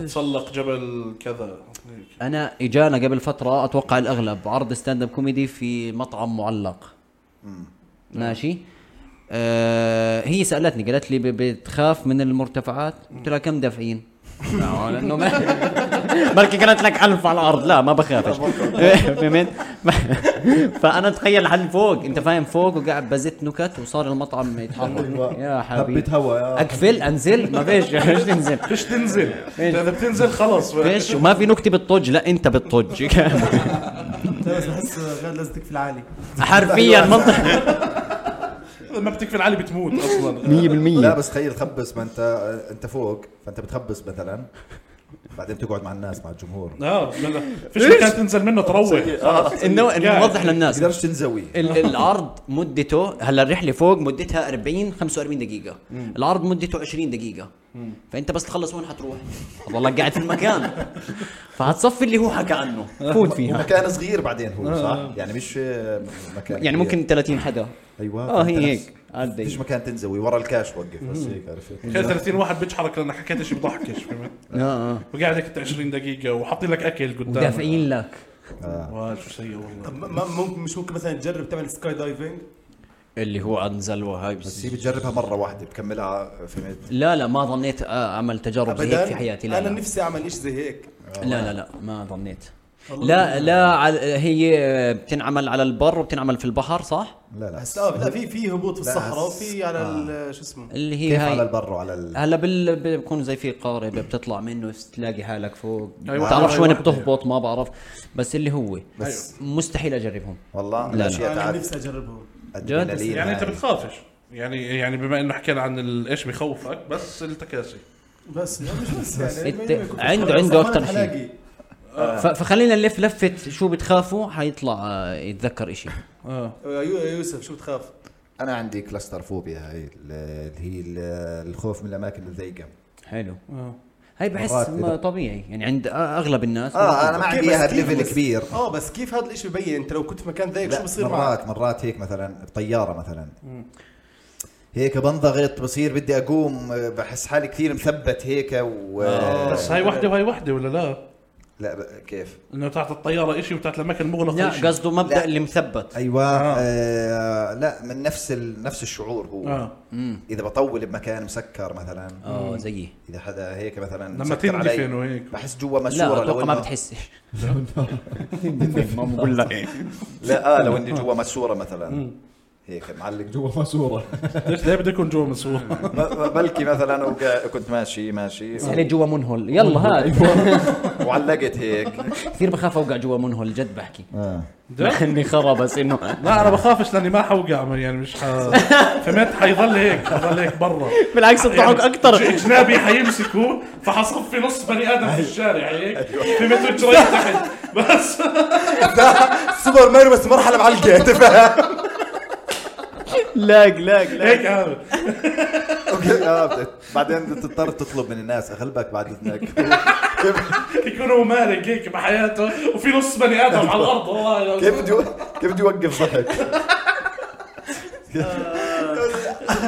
تسلق جبل كذا هيك.
انا اجانا قبل فتره اتوقع الاغلب عرض ستاند اب كوميدي في مطعم معلق ماشي آه هي سالتني قالت لي ب- بتخاف من المرتفعات قلت لها كم دافعين لا، لانه ما بركي قالت لك حلف على الارض لا ما بخافش فهمت فانا تخيل حل فوق انت فاهم فوق وقاعد بزت نكت وصار المطعم يتحرك يا حبيبي
هبيت هوا يا
اقفل انزل ما فيش مش تنزل
فيش تنزل انت اذا بتنزل خلص
فيش وما في نكته بالطج لا انت بالطج
بس بحس غير لازم في العالي
حرفيا منطق
ما بتكفي العالي بتموت اصلا
100%
لا بس تخيل تخبص ما انت انت فوق فانت بتخبص مثلا بعدين تقعد مع الناس مع الجمهور ما
اه لا لا فيش مكان تنزل منه تروح
انه انه
قاعد.
نوضح للناس
تقدرش تنزوي
ال- العرض مدته هلا الرحله فوق مدتها 40 45 دقيقه العرض مدته 20 دقيقه فانت بس تخلص وين حتروح هتضلك قاعد في المكان فهتصفي اللي هو حكى عنه فوت فيها آه.
مكان صغير بعدين هو صح يعني مش مكان
يعني
كبير.
ممكن 30 حدا
ايوه
اه
فأنت
هي
نفس-
هيك عادي.
فيش مكان تنزوي ورا الكاش وقف بس هيك عرفت
تخيل 30 واحد بيجحرك لانك حكيت شيء بضحكش فهمت
اه
وقاعد هيك أنت 20 دقيقه وحاطين لك اكل قدامك
دافعين لك
واه شو سيء والله
ممكن مش ممكن مثلا تجرب تعمل سكاي دايفنج
اللي هو انزل وهاي
بس هي بتجربها مره واحده بتكملها فهمت
لا لا ما ظنيت آه، اعمل تجارب زي هيك في حياتي لا
انا
لا.
نفسي اعمل شيء زي هيك
لا لا لا ما ظنيت لا لا على- هي بتنعمل على البر وبتنعمل في البحر صح؟
لا لا
بس آه، لا لا، في في هبوط في
بس-
الصحراء وفي على
آه.
ال- شو اسمه
اللي هي
كيف
هاي
على البر وعلى ال...
هلا بال... بيكون زي في قارب بتطلع منه تلاقي حالك فوق
أيوة.
أيوة بتعرفش
أيوة.
وين
واحدة.
بتهبط ما بعرف
أيوة.
بس اللي هو
بس
مستحيل اجربهم
والله
أيوة. لا، لا.
الاشياء
انا
تعال
نفسي اجربهم
أدرينالين
يعني انت
هاي.
بتخافش يعني يعني بما انه حكينا عن ال- ايش بخوفك بس التكاسي
بس لا، مش بس يعني
أنت
ما يكون في
عنده-
الصحراء،
عنده
بس
أكتر
ما
شيء.
حلاقي.
آه.
ف... فخلينا نلف لفه شو بتخافوا حيطلع آه، يتذكر إشي
اه
يا آه، يو- يا يوسف شو بتخاف؟
انا عندي كلاستر فوبيا هاي ال- اللي هي ال- الخوف من الاماكن الضيقه
حلو هاي بحس
آه. مرات
ما
إذا-
طبيعي يعني عند آه، اغلب الناس
اه انا ما
أوكي،
عندي
بس
اياها
كيف
بليفل
بس-
كبير
اه بس كيف هذا الشيء ببين انت لو كنت في مكان ضيق شو
لا
بصير معك؟
مرات مرات هيك مثلا بطياره مثلا هيك بنضغط بصير بدي اقوم آه، بحس حالي كثير مثبت هيك و
آه.
بس هاي وحده وهاي وحده ولا لا؟
لا ب- كيف
انه تحت الطياره شيء وتحت الاماكن المغلقه
لا
شيء
قصده مبدا
لا.
اللي مثبت
ايوه آه. لا من نفس ال... نفس الشعور هو
آه.
اه
اذا بطول بمكان مسكر مثلا
اه زيي
اذا حدا هيك مثلا
لما
مسكر علي،
تندفن وهيك.
بحس جوا مسوره
لا
لو
اتوقع ما
إنه-
بتحسش ما بقول لك
لا اه لو
آه.
اني جوا مسوره مثلا هيك معلق جوا
ليش ليه بده يكون جوا مسؤول؟
ب- بلكي مثلا وقا- كنت ماشي ماشي
سحلي يعني جوا منهل يلا هات
وعلقت هيك
كثير بخاف اوقع جوا منهل جد بحكي
آه.
مع اني خرا بس انه
لا انا بخافش لاني ما حوقع يعني مش ح... فهمت حيضل هيك حيضل هيك برا
بالعكس الضحك اكثر
اجنبي حيمسكوه فحصفي نص بني ادم في الشارع هيك فهمت رجلي تحت بس
سوبر مان بس مرحله معلقه انت فاهم
لاق لاق لاق
هيك هذا
أوكي، آه، بت- بعدين بتضطر تطلب من الناس اغلبك بعد اذنك
يكون مالك هيك بحياته وفي نص بني ادم على الارض والله
كيف بدي كيف بدي اوقف ضحك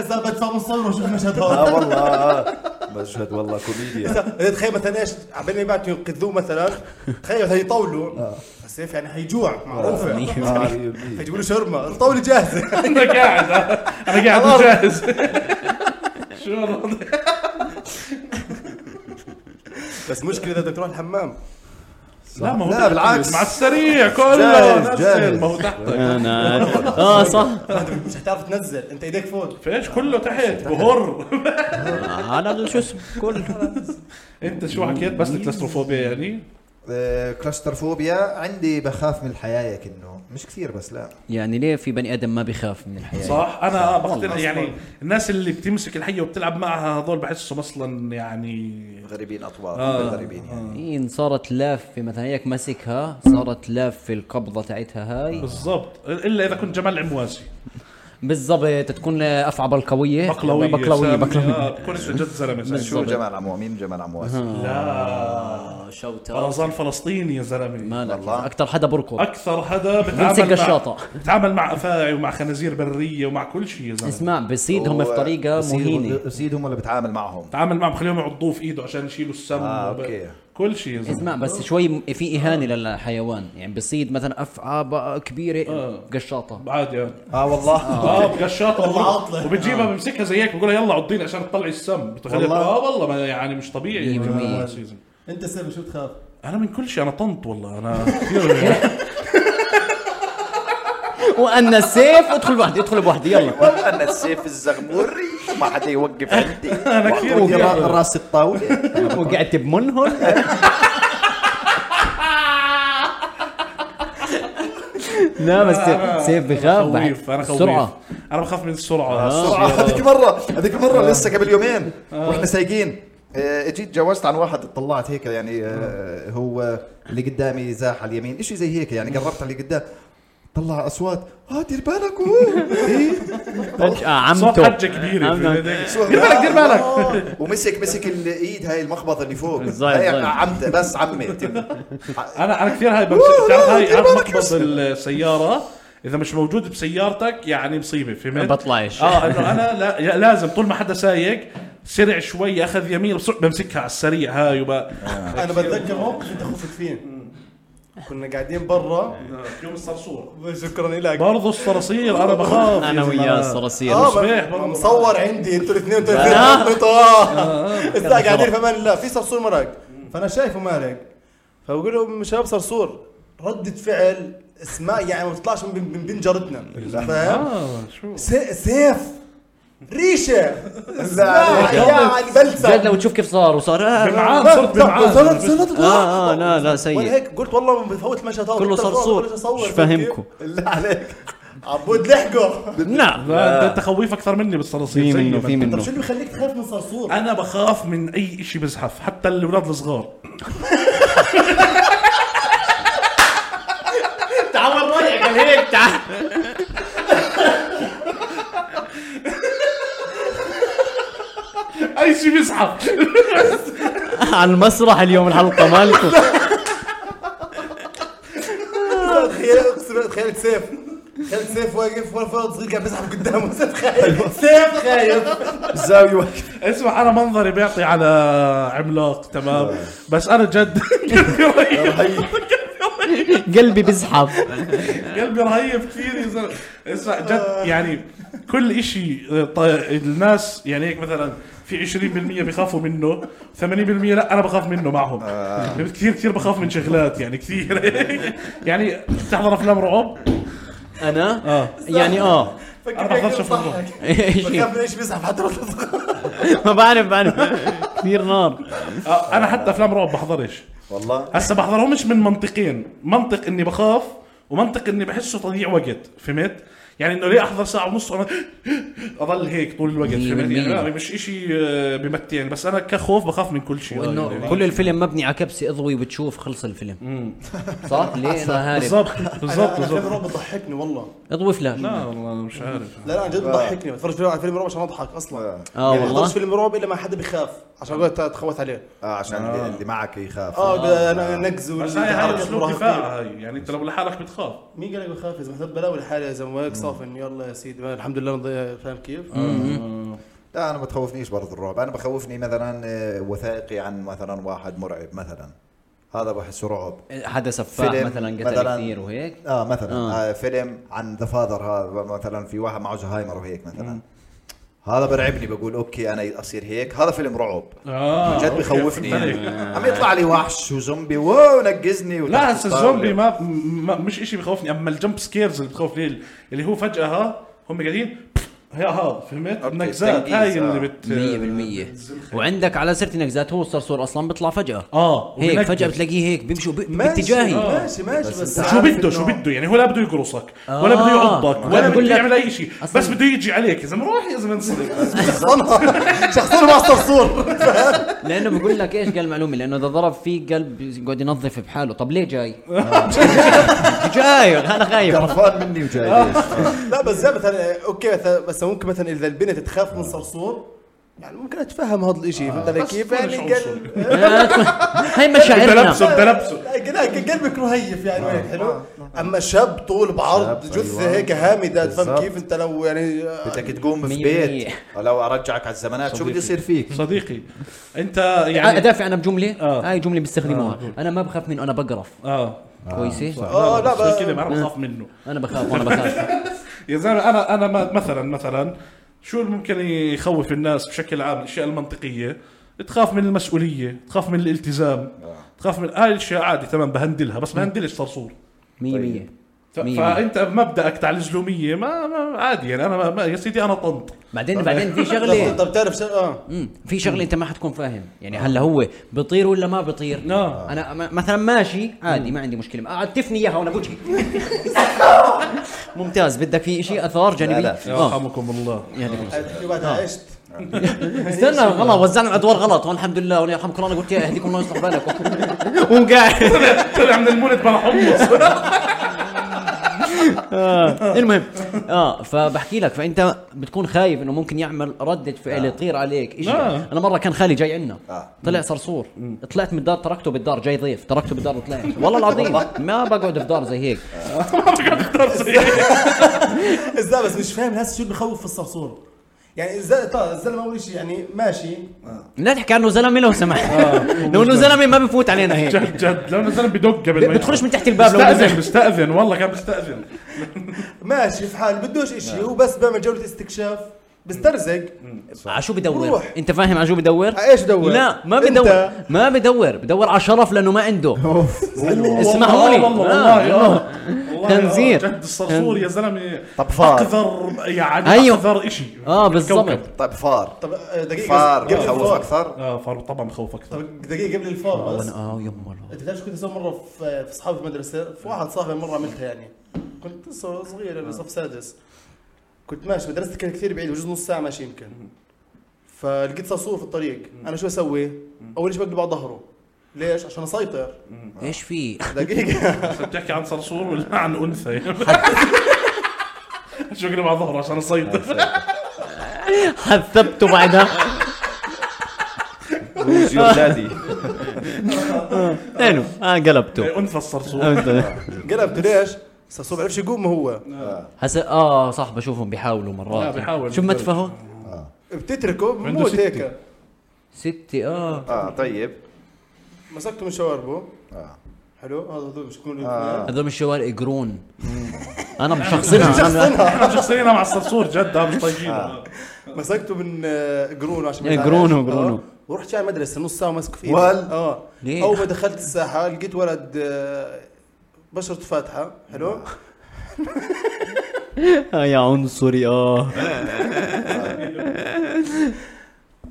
صار بدفع مصور وشوف المشهد هذا
اه والله آه. مشهد والله كوميديا
تخيل مثلا ايش عبين ما يبعتوا ينقذوه مثلا تخيل هيطولوا بس كيف يعني هيجوع معروفه
آه، يبني.
هيجيبوا له شرمه الطاوله جاهزه
انا قاعد انا قاعد جاهز شو الوضع؟
بس مشكله اذا بدك تروح الحمام
لا ما هو
لا،
تحت
آه، بالعكس.
مع السريع كله
جاهز،
نزل
جاهز.
ما هو تحتك
أنا... اه صح
مش هتعرف تنزل انت ايديك فوق
فيش كله تحت بهر
انا شو اسمه كل
انت شو حكيت بس الكلاستروفوبيا يعني
آه، كلاستروفوبيا عندي بخاف من الحياه كأنه مش كثير بس لا
يعني ليه في بني ادم ما بيخاف من الحياه
صح انا بقتنع يعني الناس اللي بتمسك الحيه وبتلعب معها هذول بحسهم اصلا يعني
غريبين اطوار
آه.
غريبين يعني
إيه، إن صارت لافه مثلا هيك ماسكها صارت لافه القبضه تاعتها هاي
بالضبط الا اذا كنت جمال عمواسي
بالضبط تكون افعبل قويه
بقلويه
بقلويه
سامي.
بقلويه
آه، بكونش جد زلمه سامي.
شو جمال عمو مين جمال
آه.
عمواس
لا
شوتر
طرزان فلسطيني يا زلمه
مالك
والله.
اكثر حدا بركض
اكثر حدا
بمسك
بتعامل مع
قشاطة.
بتعامل مع افاعي ومع خنازير بريه ومع كل شيء يا زلمه
اسمع بصيدهم بطريقه مهينه
بسيدهم ولا بتعامل معهم
بتعامل معهم خليهم يعضوه في ايده عشان يشيلوا السم
آه،
وب-
أوكي.
كل شيء يا زلمه
اسمع بس شوي م- في اهانه للحيوان يعني بصيد مثلا افعى بقى كبيره
آه.
قشاطه
عادي يعني.
آه،
اه والله
اه بقشاطه
عاطلة.
وب- وبتجيبها بمسكها زي هيك بقولها يلا عضيني عشان تطلعي السم بتخليها
آه. والله.
اه والله ما يعني مش طبيعي
مية
يا جماعة
بالمية.
هذا السيزون.
انت سامي شو تخاف؟
انا من كل شيء انا طنط والله انا كثير
وانا السيف ادخل بوحدي ادخل بوحدي يلا
انا السيف الزغمور ما حدا يوقف عندي
انا كثير
فوق
كثير-
را- راس الطاوله
وقعت بمنهم لا بس سيف بخاف
أنا
بعد.
خويف انا خويف
بسرعه
انا بخاف من السرعه
آه.
السرعه هذيك مره هذيك مره لسه قبل يومين واحنا سايقين
آه، اجيت جوزت عن واحد طلعت هيك يعني آه، هو اللي قدامي زاح على اليمين شيء زي هيك يعني قربت على اللي قدام طلع اصوات اه دير بالك اوه إيه.
فجاه
صوت
عمته
حجه كبيره
عمته.
في-
دير بالك دير بالك آه. ومسك مسك الايد هاي المخبطه اللي فوق
الزاي-
هاي
الزاي.
عمته بس عمي
انا انا كثير هاي بمسك بتعرف هاي
دير
هاي
بالك
مقبض السياره اذا مش موجود بسيارتك يعني مصيبه
ما
فهمت؟
بطلعش
اه انه انا لا يا- لازم طول ما حدا سايق سرع شوي اخذ يمين بسرعة بمسكها على السريع هاي وب
انا بتذكر موقف انت خفت فيه كنا قاعدين برا
آه.
يوم الصرصور
شكرا لك
برضه الصراصير انا بخاف
انا
يا زلمة.
وياه الصراصير
اه
صبيح
ما-
برضه.
مصور عندي انتوا الاثنين انتوا الاثنين
آه.
غلطوا انت قاعدين في امان الله في صرصور مرق فانا شايفه مرق فبقول لهم شباب صرصور ردة فعل اسماء يعني ما بتطلعش من من بين جارتنا فاهم؟
آه،
اه شو
سي- سيف ريشه اسماء يعني
جد
بلسه
لو تشوف كيف صار وصار آه، آه
بمعان صرت
صرت
بمعان
صرت
آه، آه، لا، لا، سيء.
وانا هيك قلت والله ما بفوت مشهد هذا
كله
كنت أصور،
صرصور.
كنت أصور.
مش فاهمكم.
بالله عليك عبود لحقه
نعم
لا انت- انت خويف اكثر مني بالصراصير
في
زي
منه
ما
في
انت.
طب
منه
شو اللي بيخليك تخاف من صرصور؟
انا بخاف من اي شيء بزحف حتى الاولاد الصغار
تعال رايح قال هيك تعال
اي شيء بزحف
على المسرح اليوم الحلقه مالكم
تخيل اقسم تخيل سيف تخيل سيف واقف ولا فرد صغير قاعد بيزحف قدامه تخيل سيف خايف
بالزاويه
اسمع انا منظري بيعطي على عملاق تمام بس انا جد قلبي رهيف
قلبي بزحف
قلبي رهيف كثير يا زلمه اسمع جد يعني كل إشي آه، طي- الناس يعني هيك مثلا في 20% بخافوا منه 80% لا انا بخاف منه معهم كثير كثير بخاف من شغلات يعني كثير يعني بتحضر افلام رعب
انا
اه
يعني اه
أنا بخافش أفوت.
إيش-
بخاف من ايش بيزحف حتى لو صغير.
ما بعرف بعرف كثير نار
آه، انا حتى افلام رعب بحضرش
والله
هسه بحضرهمش من منطقين منطق اني بخاف ومنطق اني بحسه تضييع وقت فهمت يعني انه ليه احضر ساعه ونص وانا اضل هيك طول الوقت
مية
فهمت يعني
بالمية.
لا، مش اشي آه، بمتعني بس انا كخوف بخاف من كل شيء
وانه
يعني.
كل الفيلم مبني على كبسه اضوي وبتشوف خلص الفيلم صح ليه انا هارب
بالضبط
انا
بالضبط
أنا فيلم
بالضبط
رعب بضحكني والله
اضوي فلاش
لا والله أنا مش عارف
لا لا عن جد بضحكني بتفرج فيلم على فيلم رعب عشان اضحك اصلا
آه،
اه
يعني بحضرش
والله
فيلم رعب الا ما حدا بخاف عشان اقول تخوت عليه
آه،
اه عشان اللي معك يخاف
اه انا نقز
بس آه. هاي هاي اسلوب دفاع هاي يعني انت لو لحالك بتخاف
مين قال لك بخاف اذا مثلا بلاوي الحالة اذا هيك صافن يلا يا سيدي ما- الحمد لله نضيع فاهم كيف؟
آه.
لا انا ما بتخوفنيش برضه الرعب انا بخوفني مثلا آه، وثائقي عن مثلا واحد مرعب مثلا هذا بحسه رعب
حدا سفاح
فيلم
مثلا قتل
مثلاً.
كثير وهيك
اه مثلا
آه.
آه. آه فيلم عن ذا فاذر مثلا في واحد معه زهايمر وهيك مثلا
هذا برعبني بقول اوكي انا اصير هيك هذا فيلم رعب
اه
جد
أوكي،
بخوفني
فهمت
يعني.
عليك.
عم يطلع لي وحش وزومبي واو نقزني
لا هسه الزومبي ما, ما مش إشي بخوفني اما الجمب سكيرز اللي بتخوفني اللي هو فجاه ها هم قاعدين هي ها فهمت
أوكي،
النكزات
تنقيز،
هاي
آه.
اللي بت
100% وعندك على سيره النكزات هو الصرصور اصلا بيطلع فجاه
اه
هيك
وبنكز.
فجاه بتلاقيه هيك بيمشي وب-
ماشي،
باتجاهي
آه.
ماشي ماشي بس
شو بده شو بده يعني هو لا بده يقرصك ولا
آه.
بده يعضك
أنا
ولا
بقول
بده
لك-
يعمل اي شيء
أصلاً-
بس بده يجي عليك يا زلمه روح يا زلمه انصرف
شخصنها شخصنها مع الصرصور
لانه بقول لك ايش قال معلومه لانه اذا ضرب فيه قلب يقعد ينظف بحاله طب ليه جاي؟ جاي انا خايف
قرفان مني وجاي
آه.
لا بس زي مثلا اوكي مثلا بس ممكن مثلا اذا البنت تخاف من صرصور يعني ممكن اتفهم هذا الشيء فهمت علي
بس
كيف؟
ما
يعني
مش
قل-
هاي
بدي
مشاعرنا
لبسه بدي لبسه
لا، ك- قلبك رهيف يعني وين حلو اما شاب طول بعرض
آه. شاب،
جثه
أيوة.
هيك هامده تفهم
بالظبط.
كيف انت لو يعني
بدك تقوم في
مية مية.
بيت لو ارجعك على الزمانات شو
صديقي.
بده يصير فيك
صديقي انت
يعني
يعني
ادافع انا بجمله
آه.
هاي جمله بيستخدموها
آه.
انا ما بخاف منه انا بقرف
اه
كويسه
اه لا
بس
بقى
كده ما أنا بخاف منه
انا بخاف وانا بخاف
يا زلمه انا انا ما- مثلا مثلا شو اللي ممكن يخوف الناس بشكل عام الاشياء المنطقيه تخاف من المسؤوليه تخاف من الالتزام
آه.
تخاف من هاي الاشياء عادي تمام بهندلها بس بهندلش صرصور
100 100
ف-
مية.
فانت مبدأك تاع الجلوميه ما, ما عادي يعني انا ما ما يا سيدي انا طنط
بعدين
طيب.
بعدين في شغله
طب تعرف شو اه
مم. في شغله انت ما حتكون فاهم يعني هلا هو بيطير ولا ما بيطير
آه.
انا م- مثلا ماشي عادي ما عندي مشكله عتفني اياها وانا بوجهي ممتاز بدك في شيء اثار جانبي
لا،
آه.
يرحمكم الله
يهديك الله.
تحكي بعدها آه،
آه.
عشت
استنى والله وزعنا الادوار غلط وأنا الحمد لله والله يرحمكم الله انا قلت يا يهديكم الله ويصلح بالك وقوم قاعد
طلع من المولد بلا حمص
آه، المهم اه فبحكي لك فانت بتكون خايف انه ممكن يعمل ردة فعل يطير عليك شيء
آه.
انا مره كان خالي جاي عندنا
آه.
طلع صرصور طلعت من الدار تركته بالدار جاي ضيف تركته بالدار وطلعت والله العظيم ما بقعد في دار زي هيك
ازاي بس مش فاهم الناس شو اللي بخوف في الصرصور يعني ازاي طيب الزلمه اول شيء يعني ماشي
آه.
لا تحكي عنه زلمه لو سمحت لو انه زلمه ما بفوت علينا هيك
جد جد لو نزل بدق قبل ما
بتخش
يدخل.
من تحت الباب لو
بستأذن
نزل
بستأذن والله كان بستأذن
ماشي في حاله بدوش
آه.
شيء وبس بيعمل جوله استكشاف بسترزق
على آه، شو بدور
بروح.
انت فاهم على شو بدور
على ايش بدور؟
لا ما
أيوة. أنت-
بدور ما بدور بدور على شرف لانه ما عنده اسمحوا لي
والله والله
آه.
آه. والله
تنزير.
آه. جد الصرصور يا زلمه
طب فار.
اقذر يعني
أيوه.
اقذر شيء
اه
بالكوكب.
بالضبط
طيب فار
طب آه، دقيقه
فار
قبل
بخوف
الفار
اكثر
اه فار طبعا بخوف اكثر
طب دقيقه قبل الفار بس
وانا اه يما الله
انت بتعرف شو كنت اسوي مره في في اصحابي في المدرسه في واحد صاحبي مره عملتها يعني كنت لسه صغير
آه.
يعني صف سادس كنت ماشي مدرستي كانت كثير بعيده بجوز نص ساعه ماشي يمكن فلقيت صرصور في الطريق انا شو اسوي؟ اول شيء بقلب على ظهره ليش؟ عشان اسيطر
ايش في
دقيقه
بس بتحكي عن صرصور ولا عن انثى يعني شو مع ظهره عشان
آه،
اصيد
حذبته بعدها
Who's your daddy?
حلو اه قلبته
انثى الصرصور
قلبته ليش؟ صرصور بيعرفش يقوم هو
آه.
هسا اه صح بشوفهم بيحاولوا مرات
لا، بيحاول.
شو ما تفهوا
بتتركه
عنده
بموت
ستة.
هيك
ستة اه
اه طيب
مسكته من شواربه
آه.
حلو هذا هذول مش يكونوا
آه.
هذول الشوارع قرون انا مشخصنها أنا-
احنا شخصينا مع الصرصور جد آه، مش طايقين
مسكته من آه، قرونه عشان
إيه،
ما يزعلش.
قرونه،
آه.
قرونه.
ورحت جاي المدرسه نص ساعه ماسكه فيه
وال-
اه
ليه؟
اول ما دخلت الساحه لقيت ولد آه، بشرته فاتحه حلو
آه، يا عنصري اه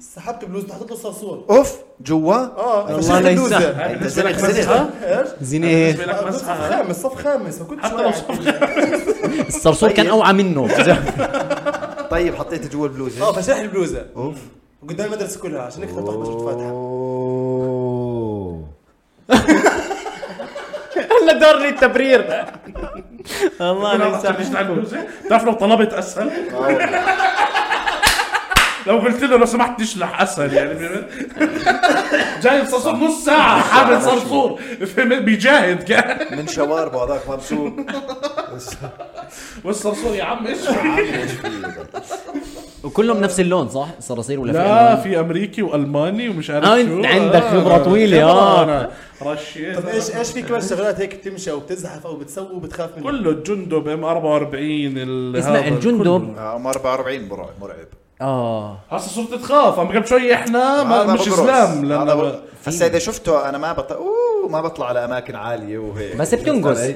سحبت بلوزته حطيت له صرصور
اوف جوا
اه
الله لا يسهل.
هاي
انت
بالنسبة
زلك
لك
زلك
مسحة
زينة
بالنسبة لك
صف
مسحة
خامس صف خامس ما كنتش
حتى لو
واعي.
صف
الصرصور كان اوعى منه
طيب حطيته جوا البلوزه
اه فشرح البلوزه
اوف
قدام المدرسه كلها عشان هيك طلعت بشرته فاتحه
اوه
هلا دور لي التبرير الله
أنا أعرف
يسامحك
تشتغل على البلوزة. بتعرف لو طلبت اسهل لو قلت له لو سمحت تشلح اسهل يعني جايب صرصور نص ساعه حامل صرصور فهمت بيجاهد كان
من شواربه هذاك ممسوك
والصرصور يا عم اشرح
وكلهم نفس اللون صح الصراصير ولا في
لا
ألوان؟
في امريكي والماني ومش عارف
آه،
شو
أنت عندك خبرة طويلة، آه.
أنا رشيت
طب ايش ايش في كمان شغلات هيك بتمشي او بتزحف او بتسوي وبتخاف منها
كله الجندب ام 44 ال-
اسمع
هذا
الجندب
كله.
عمر 44 مرعب مرعب
اه
هسه صرت تخاف عم قبل شوي احنا ما
هذا
مش
بقرص.
اسلام
هذا
لانه
بق- هسا اذا شفته انا ما بطلع اوه ما بطلع على اماكن عاليه وهيك
بس بتنقص.
علي؟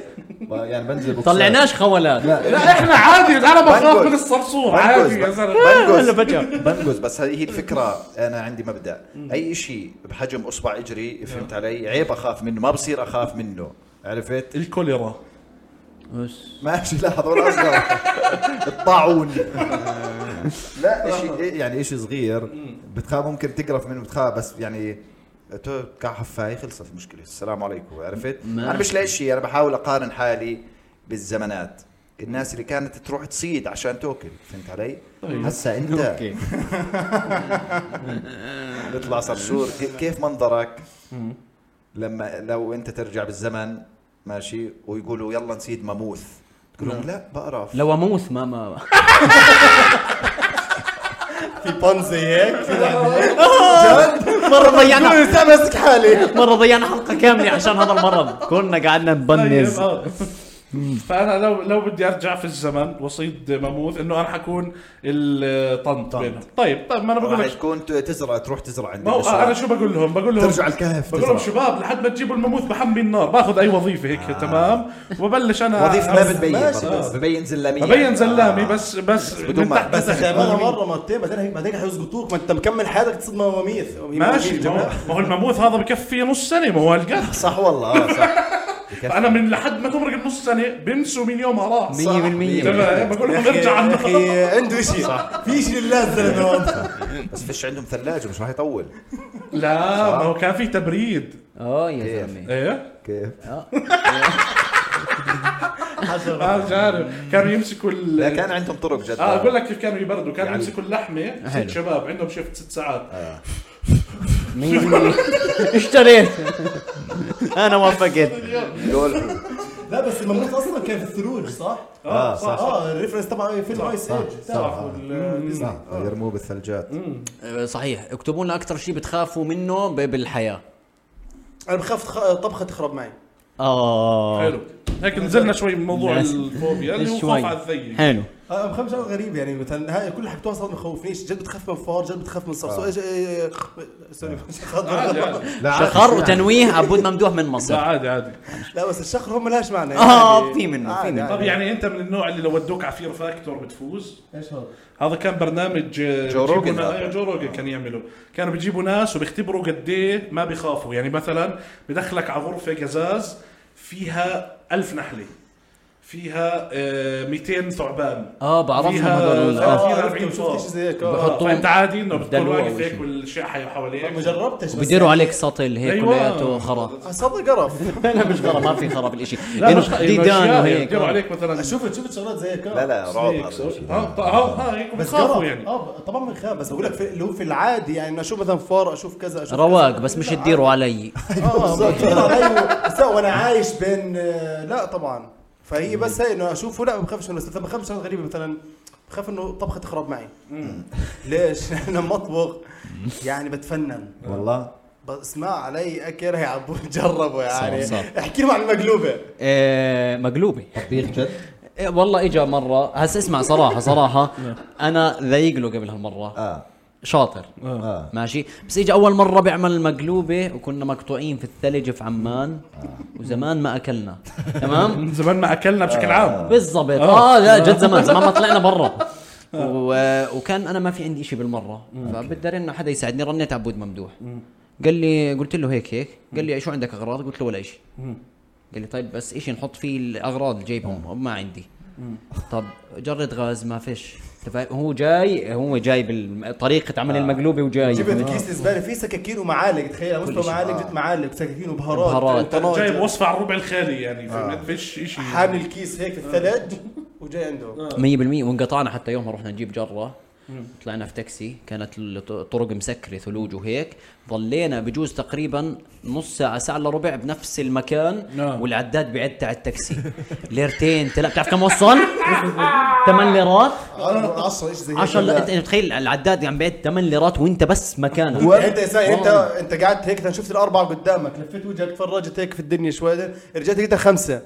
يعني بنزل بوكسات.
طلعناش خولات
لا
لا احنا عادي انا بخاف
بنقز.
من الصرصور
بنقز
عادي يا زلمه
هلا
بنقز
فجأة.
بنقز بس هي الفكره انا عندي مبدا اي شيء بحجم اصبع اجري فهمت علي عيب اخاف منه ما بصير اخاف منه عرفت
الكوليرا
بس
ماشي لا هذول اصغر الطاعون لا شيء يعني شيء صغير بتخاف ممكن تقرف منه بتخاف بس يعني تو- كحف هاي خلصت المشكله السلام عليكم عرفت
ما-
انا مش لاقي شيء انا بحاول اقارن حالي بالزمانات الناس اللي كانت تروح تصيد عشان تاكل فهمت علي هسا انت
اوكي
بيطلع صرصور كي- كيف منظرك لما لو انت ترجع بالزمن ماشي ويقولوا يلا نسيد ماموث تقول لهم لا بقرف
لو اموس ما ما
في بانزي هيك
مره ضيعنا
ماسك حالي
مره ضيعنا حلقه كامله عشان هذا المرض كنا قعدنا نبنز
طيب، آه. فانا لو لو بدي ارجع في الزمن واصيد ماموث انه انا حكون الطنط بينهم طيب طيب ما انا بقول
راح
لك
تكون ت- تزرع تروح تزرع عندي
ما هو
بالسوق.
انا شو بقول لهم بقول لهم
ترجع الكهف
بقول لهم
تزرع
شباب لحد ما تجيبوا الماموث بحمي النار باخذ اي وظيفه هيك تمام وببلش انا
وظيفه ما بتبين
ماشي.
برضه. ببين زلاميه
ابين زلامي بس بس
بدون
من
ما-
تحت
بس
لتحت.
تعملها مره مرتين بعدين بعدين هيسقطوك ما انت مكمل حياتك تصيد مواميث
ماشي ما هو- ما هو الماموث هذا بكفي نص سنه ما هو القط
صح والله آه، صح
فانا من لحد ما تمرق النص سنه بنسوا من يومها راح
100%
تمام بقول لهم
يا
ارجع عن
اخي عنده شيء في شيء لله الزلمه
بس فيش عندهم ثلاجه مش راح يطول
لا ما هو كان في تبريد
اه يا زلمه
ايه
كيف
ما آه، عارف كانوا يمسكوا ال
لا كان عندهم طرق جد
اه اقول لك كيف كانوا يبردوا كانوا
يعني-
يمسكوا اللحمه
حلو. آه.
ست شباب عندهم شفت ست ساعات
100% اشتريت انا وافقت
دول
لا بس المملوك اصلا كان في الثلوج صح؟
اه
آه.
صح
اه الريفرنس تبعه في الايس ايج
تعرفوا ال-
نعم.
صح يرموه بالثلجات
أه، صحيح اكتبوا لنا اكثر شيء بتخافوا منه ب- بالحياه
انا بخاف تخ- طبخه تخرب معي
اه
حلو هيك نزلنا شوي من موضوع
ناس-
الفوبيا اللي هو
شوي.
خوف على الذي
حلو
انا آه، بخاف شغله غريبه يعني مثلا هاي كل اللي حكيتوها صار ما يخوفنيش جد بتخاف من فار جد بتخاف من صرصور إيش- إيه- سوري
عادي عادي
لا عادي،
شخر
شو يعني؟
وتنويه عبود ممدوح من
لا
مصر
عادي عادي
لا بس الشخر هم ملهاش معنى
آه،
يعني.
في منه، في
عادي،
منه.
عادي.
طب يعني انت من النوع اللي لو ودوك على فير فاكتور بتفوز
ايش هو؟
هذا كان برنامج آه،
جو
بيجيبوا
روجن
نا-
هذا.
أيوة، جو روجن كان يعمله كانوا بيجيبوا ناس وبيختبروا قد ايه ما بيخافوا يعني مثلا بدخلك على غرفه قزاز فيها ألف نحله فيها آه، 200 ثعبان
اه بعرفهم
فيها
هذول
ثلاثين-
آه.
اه
40
عرفت شفت شيء زي هيك آه.
بحطوهم
فانت عادي انه بتكون
بدلوه
واقف
أول
هيك
شيء.
والاشياء حي-
ما
حواليك
جربتش بس
وبيديروا عليك سطل هيك
أيوة.
كلياته خرا
آه، صدق قرف
لا مش خرا ما في خرا بالشيء
لا مش
ديدان وهيك
بيديروا عليك آه، مثلا
شفت شفت شغلات زي هيك آه.
لا لا رعب
هيك
هذا
صوت.
الشيء.
ها ها هيك
بس
بتخافوا
قرف.
يعني
اه طبعا بنخاف بس بقول لك في- لو في العادي يعني أنا اشوف مثلا فار اشوف كذا اشوف
رواق
كذا.
بس مش
لا،
تديروا علي
اه بتطير علي بس لا، وانا عايش بين آه، لا طبعا فهي بس هي انه اشوفه لا ما بخافش منه بس مثلا بخافش شغلات غريبه مثلا بخاف انه طبخه تخرب معي ليش؟ انا لما اطبخ يعني بتفنن
والله
بسمع علي اكل هي عبود جربوا يعني
صح،
احكي لهم عن المقلوبه
آه، مقلوبه
طبيخ جد
إيه والله اجى مره هسه اسمع صراحه صراحه
نعم.
انا ذايق له قبل هالمره
اه
شاطر
آه.
اه
ماشي بس اجى اول مره بيعمل المقلوبه وكنا مقطوعين في الثلج في عمان وزمان ما اكلنا تمام
من زمان ما اكلنا بشكل عام
بالضبط
آه.
اه لا جد زمان زمان ما طلعنا برا و- وكان انا ما في عندي شيء بالمره فبدي انه حدا يساعدني رنيت عبود ممدوح قال لي قلت له هيك هيك قال لي شو عندك اغراض قلت له ولا شيء قال لي طيب بس شيء نحط فيه الاغراض اللي جايبهم ما عندي طب جرد غاز ما فيش أنت فاهم؟ هو جاي هو جاي بطريقه عمل المقلوبه وجاي
جبت كيس زباله فيه سكاكين ومعالق تخيل على مستوى معالق جبت معالق سكاكين وبهارات
بهارات.
طناجر.
جايب وصفه على الربع الخالي يعني فهمت فيش شيء
حامل الكيس هيك في الثلج وجاي عنده
100% وانقطعنا حتى يومها رحنا نجيب جره طلعنا في تاكسي كانت الطرق مسكره ثلوج وهيك ضلينا بجوز تقريبا نص ساعه ساعه الا ربع بنفس المكان
آه.
والعداد بعد تاع التاكسي ليرتين ثلاث بتعرف كم وصل؟ 8 ليرات
إيه، 10 ايش زي هيك
10 انت أنت متخيل العداد عم بعد 8 ليرات وانت بس مكانك
انت يا ساي انت انت قعدت هيك شفت الاربعه قدامك لفيت وجهك تفرجت هيك في الدنيا شوي رجعت لقيتها خمسه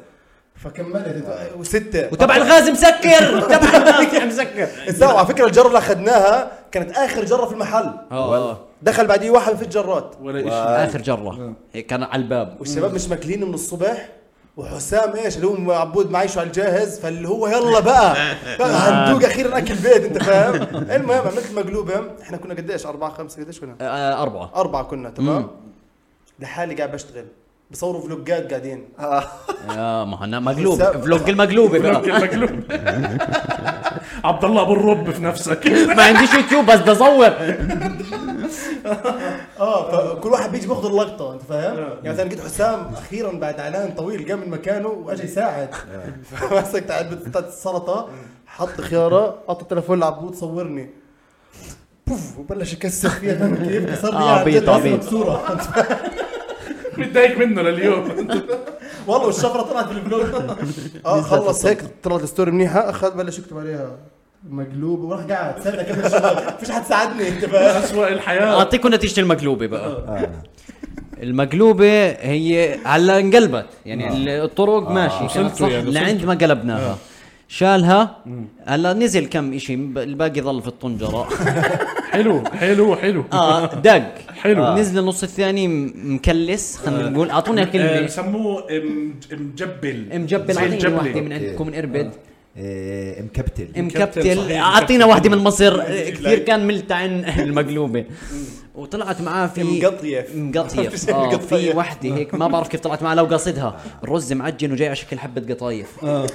فكملت وسته
وتبع الغاز مسكر تبع الغاز مسكر
لا وعلى فكره الجره اللي اخذناها كانت اخر جره في المحل
اه
دخل بعديه واحد في جرات
ولا شيء
اخر جره هيك كان على الباب
والشباب مش ماكلين من الصبح وحسام ايش اللي هو عبود معيشه على الجاهز فاللي هو يلا بقى بقى هندوق اخيرا اكل بيت انت فاهم المهم عملت مقلوبه احنا كنا قديش اربعه خمسه قديش كنا
آه، اربعه
اربعه كنا تمام لحالي قاعد بشتغل بصوروا فلوجات قاعدين
يا ما هن مقلوب فلوج المقلوبه بقى
مقلوب عبد الله ابو الرب في نفسك
ما عنديش يوتيوب بس بدي اصور
اه فكل واحد بيجي بياخذ اللقطه انت فاهم؟ يعني مثلا لقيت حسام اخيرا بعد اعلان طويل قام من مكانه واجى يساعد فمسكت علبه بتاعت السلطه حط خياره حط التليفون لعبود صورني بوف وبلش يكسر فيها فاهم كيف؟ كسر لي يعني
آه،
إياها عن
عبيط،
جد
عبيط.
أسرق صوره أنت فاهم؟
متضايق منه لليوم
والله والشفره طلعت بالبلوك اه خلص هيك طلعت الستوري منيحه اخذ بلش يكتب عليها مقلوب وراح قاعد سنه كده شغال مفيش حد ساعدني انت فاهم؟
اسوء الحياه
اعطيكم نتيجه المقلوبه بقى المقلوبه هي هلا انقلبت يعني الطرق ماشي كانت صح لعند ما قلبناها شالها هلا نزل كم اشي الباقي ظل في الطنجره
حلو حلو حلو
اه دق
حلو.
آه. نزل النص الثاني م- مكلس خلينا نقول اعطونا
آه،
كلمه
بسموه إم- مجبل
مجبل
زي
اعطينا واحده
الجبلة
من عندكم من اربد
إيه، مكبتل
مكبتل،
مكبتل
صحيح،
اعطينا
مكبتل.
واحده من مصر كثير كان ملتعن المقلوبه وطلعت معاه في
مقطية.
مقطيه
في شيء
آه في
مقطية.
وحده هيك ما بعرف كيف طلعت معاه لو قاصدها الرز معجن وجاي على شكل حبه قطايف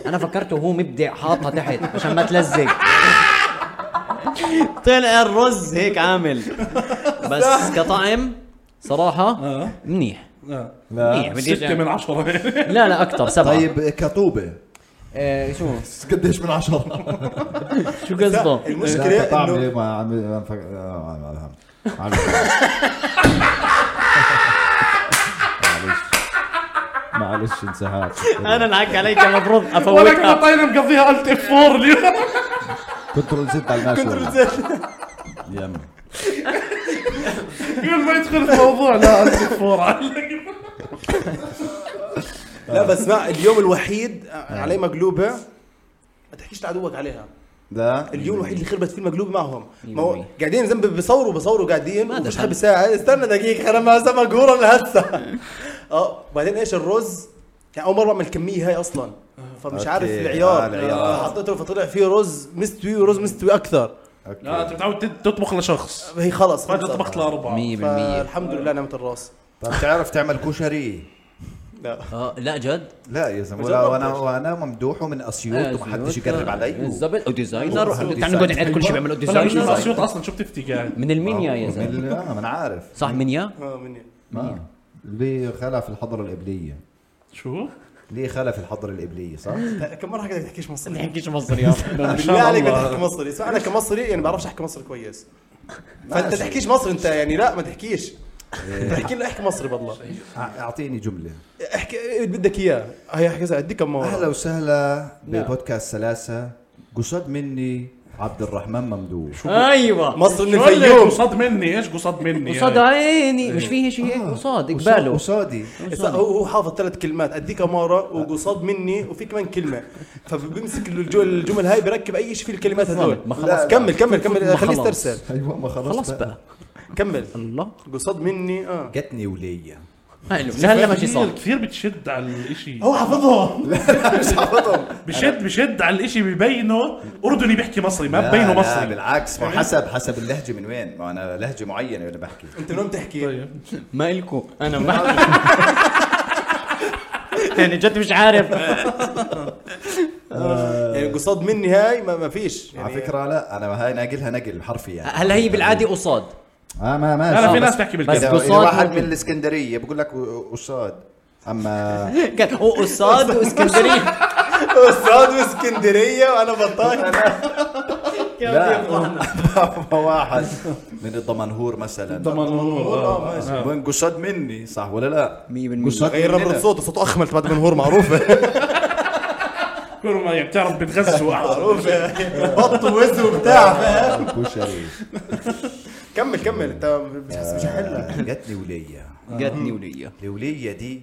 انا فكرته هو مبدع حاطها تحت عشان ما تلزق طلع الرز هيك عامل بس آه. كطعم صراحه منيح منيح بديش
ستة من عشرة
لا لا اكثر سبعه
آه. طيب كطوبه
آه، شو
قديش من عشرة؟
شو قصده؟
المشكله انه
طعمي إيه؟ ما عم ما عم- ما عم- ما عم- عم- معلش معلش انسحاب
انا انعك علي كمفروض
ولا كنا
افوتها
طايله مقضيها الت اف 4 اليوم
كنترول زد على
كنترول
الماشي
زد.
يلا
قبل ما يدخل في الموضوع لا الت اف 4 علق.
لا بس اسمع اليوم الوحيد عليه مقلوبه ما تحكيش لعدوك عليها
لا
اليوم الوحيد اللي خربت فيه المقلوب معهم ما هو
يومي.
قاعدين ذنب بيصوروا بيصوروا قاعدين
ما
مش
دخل.
حد بيساعد استنى دقيقه انا ما سامع قوره لهسه اه وبعدين ايش الرز يعني اول مره اعمل الكميه هاي اصلا فمش
أوكي.
عارف
آه،
العيار
العيار.
حطيته فطلع فيه رز مستوي ورز مستوي اكثر
لا انت متعود تد- تطبخ لشخص
هي خلص
فجاه
خلصت.
طبخت لاربعه
100%
فالحمد لله نعمه الراس
طب تعرف تعمل كشري
لا
آه، لا جد
لا يا زلمه
جربتش.
وانا وانا ممدوح ومن اسيوط وما حدش يقرب علي
آه، بالضبط وديزاينر
والله
تعال
ديزاينر.
نقعد نعد كل شيء بيعملوا
طلع من
ديزاينر
الاسيوط اصلا شو بتفتي قاعد
من المنيا يا زلمه
من- آه، ما انا عارف
صح منيا؟
آه، مني
ما ليه خلع في الحضره القبليه
شو؟
ليه خلع في الحضره القبليه صح؟
كم مره حكيت لك تحكيش مصري
تحكيش مصري يا
إن شاء
بالله عليك
الله.
بدي احكي مصري اسمع انا كمصري يعني بعرفش احكي مصري كويس فانت
ماشي.
تحكيش مصري انت يعني لا ما تحكيش انت احكي له احكي مصري بالله
أع- اعطيني جمله
احكي اللي بدك اياه هي احكي زي اديك كم
اهلا
مره
وسهلا ببودكاست سلاسه قصاد مني عبد الرحمن ممدوح
ايوه
مصر من
شو اللي
الفيوم
قصاد مني ايش قصاد مني
قصاد
يعني؟
عيني مش فيه شيء هيك إيه. آه. قصاد
قصاد-
اقباله
قصادي
هسا هو هو حافظ ثلاث كلمات اديك مره وقصاد مني وفي كمان كلمه فبيمسك الج- الجمل هاي بركب اي شيء في الكلمات هذول
ما خلص.
لا، كمل كمل كمل
ما
خليه
خلص.
يسترسل
ايوه ما خلص
خلاص بقى
كمل
الله
قصاد مني اه
جتني وليه
حلو لهلا ما شي
كثير-
صار
كثير بتشد على الاشي
هو حافظهم
بشد بشد على الاشي ببينه اردني بيحكي مصري ما
لا،
ببينه
لا،
مصري
بالعكس ما حسب حسب اللهجه من وين ما انا لهجه معينه وانا بحكي
انت من وين
طيب.
بتحكي؟
ما الكو انا ما يعني جد مش عارف
يعني قصاد مني هاي ما ما فيش يعني
على فكره لا انا هاي ناقلها نقل حرفي يعني
هلا هي بالعادي قصاد
اه ما ماشي
لا في
آه،
ناس
بس-
تحكي
بس
إذا-
بالكذب
إذا
قصاد
واحد
ممكن.
من الاسكندريه بقول لك قصاد اما
كان هو قصاد واسكندريه
استاذ اسكندريه وانا بطايق
لا واحد من الضمنهور مثلا وين قصاد مني صح ولا لا؟
100%
قصاد
غير نبرة
مننا.
صوته صوته اخمل تبعت منهور معروفه
كل ما يعني بتعرف بتغزوا احسن
معروفه بط ووز وبتاع فاهم
الكشري
كمل كمل انت مش حاسس مش حلها
جتني وليه
جاتني وليا
الوليه دي